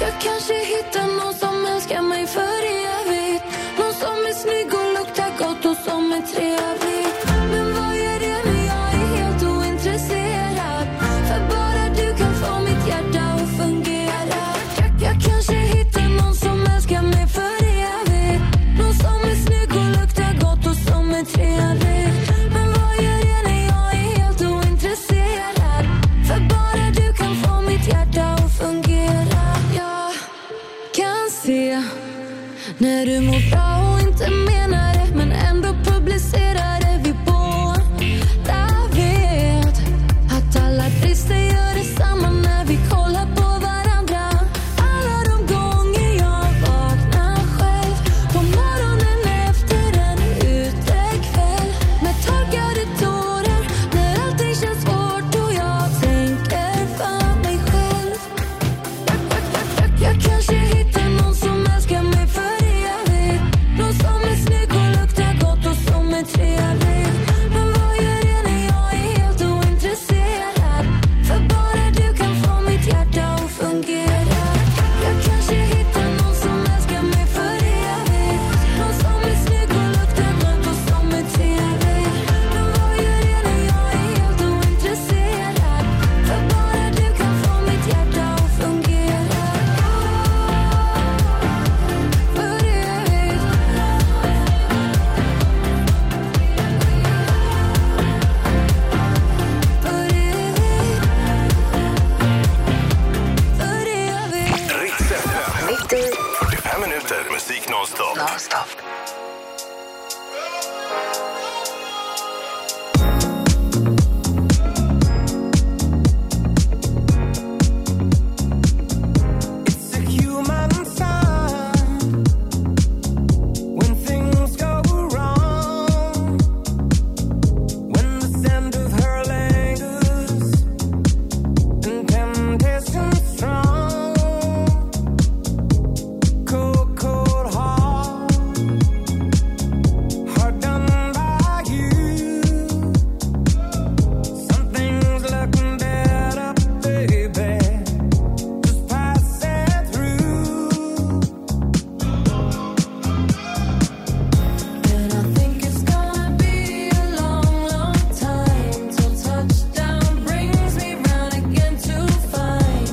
jag kanske hittar någon som älskar mig för evigt Någon som är snygg och luktar gott och som är trevlig Men vad gör det när jag är helt ointresserad? För bara du kan få mitt hjärta att fungera Jag, jag kanske hittar någon som älskar mig för evigt Någon som är snygg och luktar gott och som är trevlig Men vad gör det när jag är helt ointresserad? För bara du kan få mitt hjärta att fungera Jag kan se när du mår bra och inte menar det men ändå publicerar det vi båda vet att alla brister gör detsamma när vi kollar på varandra Alla de gånger jag vaknar själv På morgonen efter en utekväll Med torkade tårar när allting känns svårt och jag tänker för mig själv jag kanske hittar någon som älskar mig för evigt Någon som är snygg och luktar gott och som är trevlig Men vad gör det när jag är helt ointresserad? För bara du kan få mitt hjärta att fungera Jag kanske hittar någon som älskar mig för evigt Någon som är snygg och luktar gott och som är trevlig Men vad gör det när jag är helt ointresserad? För bara du kan få mitt hjärta att fungera Riks FM. 45 minuter musik nonstop. It's a human sign when things go wrong, when the scent of her lingers and temptation strong, cold, cold heart, heart done by you. Something's looking better, baby pass it through. And I think it's gonna be a long, long time till touchdown brings me round again to find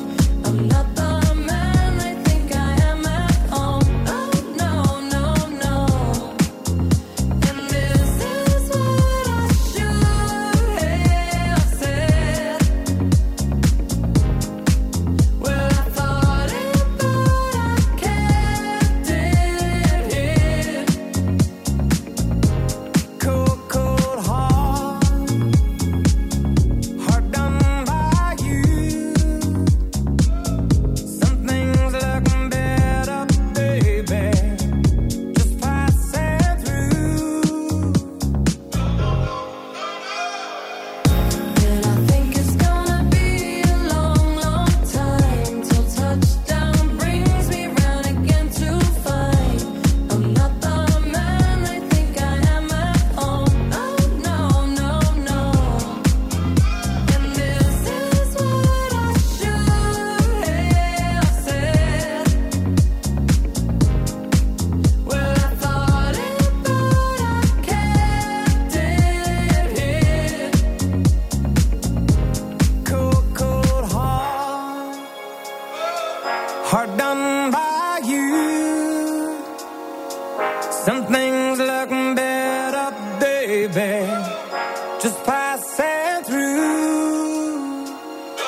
I'm not the man I think I am at home. Oh no, no, no. And this is what I should have said. Well, I thought it, but I kept it here. Cold, cold heart, heart done by you. Something's looking better, baby. Just pass it through. And I think it's gonna be a long, long time till touchdown brings me round again to find I'm not the man I think I am at home. Oh no, no, no. And this is what I should have said. Well, I thought it, but I kept it here. Cold, cold heart, heart done by you. Something's looking better, baby. Just pass it through. Oh,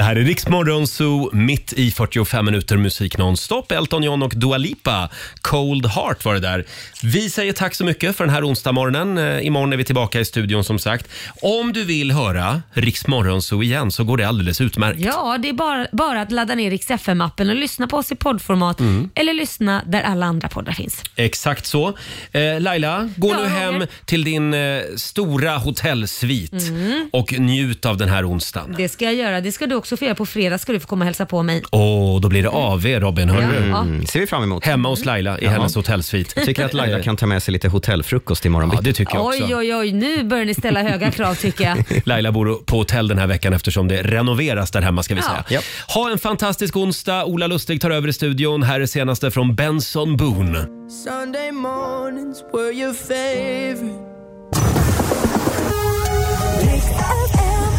här är Riksmorgon Zoo, mitt i 45 minuter musik nonstop. Elton John och Dua Lipa, Cold Heart var det där. Vi säger tack så mycket för den här onsdagsmorgonen. Eh, Imorgon är vi tillbaka i studion som sagt. Om du vill höra Riksmorgon Zoo igen så går det alldeles utmärkt. Ja, det är bara, bara att ladda ner Rix FM-appen och lyssna på oss i poddformat Mm. eller lyssna där alla andra poddar finns. Exakt så. Eh, Laila, gå Ja, nu hem Roger. till din eh, stora hotellsvit Mm. och njut av den här onsdagen. Det ska jag göra. Det ska du också få göra. På fredag ska du få komma och hälsa på mig. Åh, då blir det AV Robin, hörru. Ja, ja. Mm. ser vi fram emot. Hemma hos Laila i hennes hotellsvit. Eh. Jag tycker att Laila kan ta med sig lite hotellfrukost imorgon Ja, det tycker jag också. Oj, oj, oj. Nu börjar ni ställa höga krav tycker *laughs* jag. Laila bor på hotell den här veckan eftersom det renoveras där hemma ska vi Ja. säga. Ha en fantastisk onsdag. Ola Lustig tar över i studion. Här är senaste från Benson Boone. Sunday mornings were your favorite.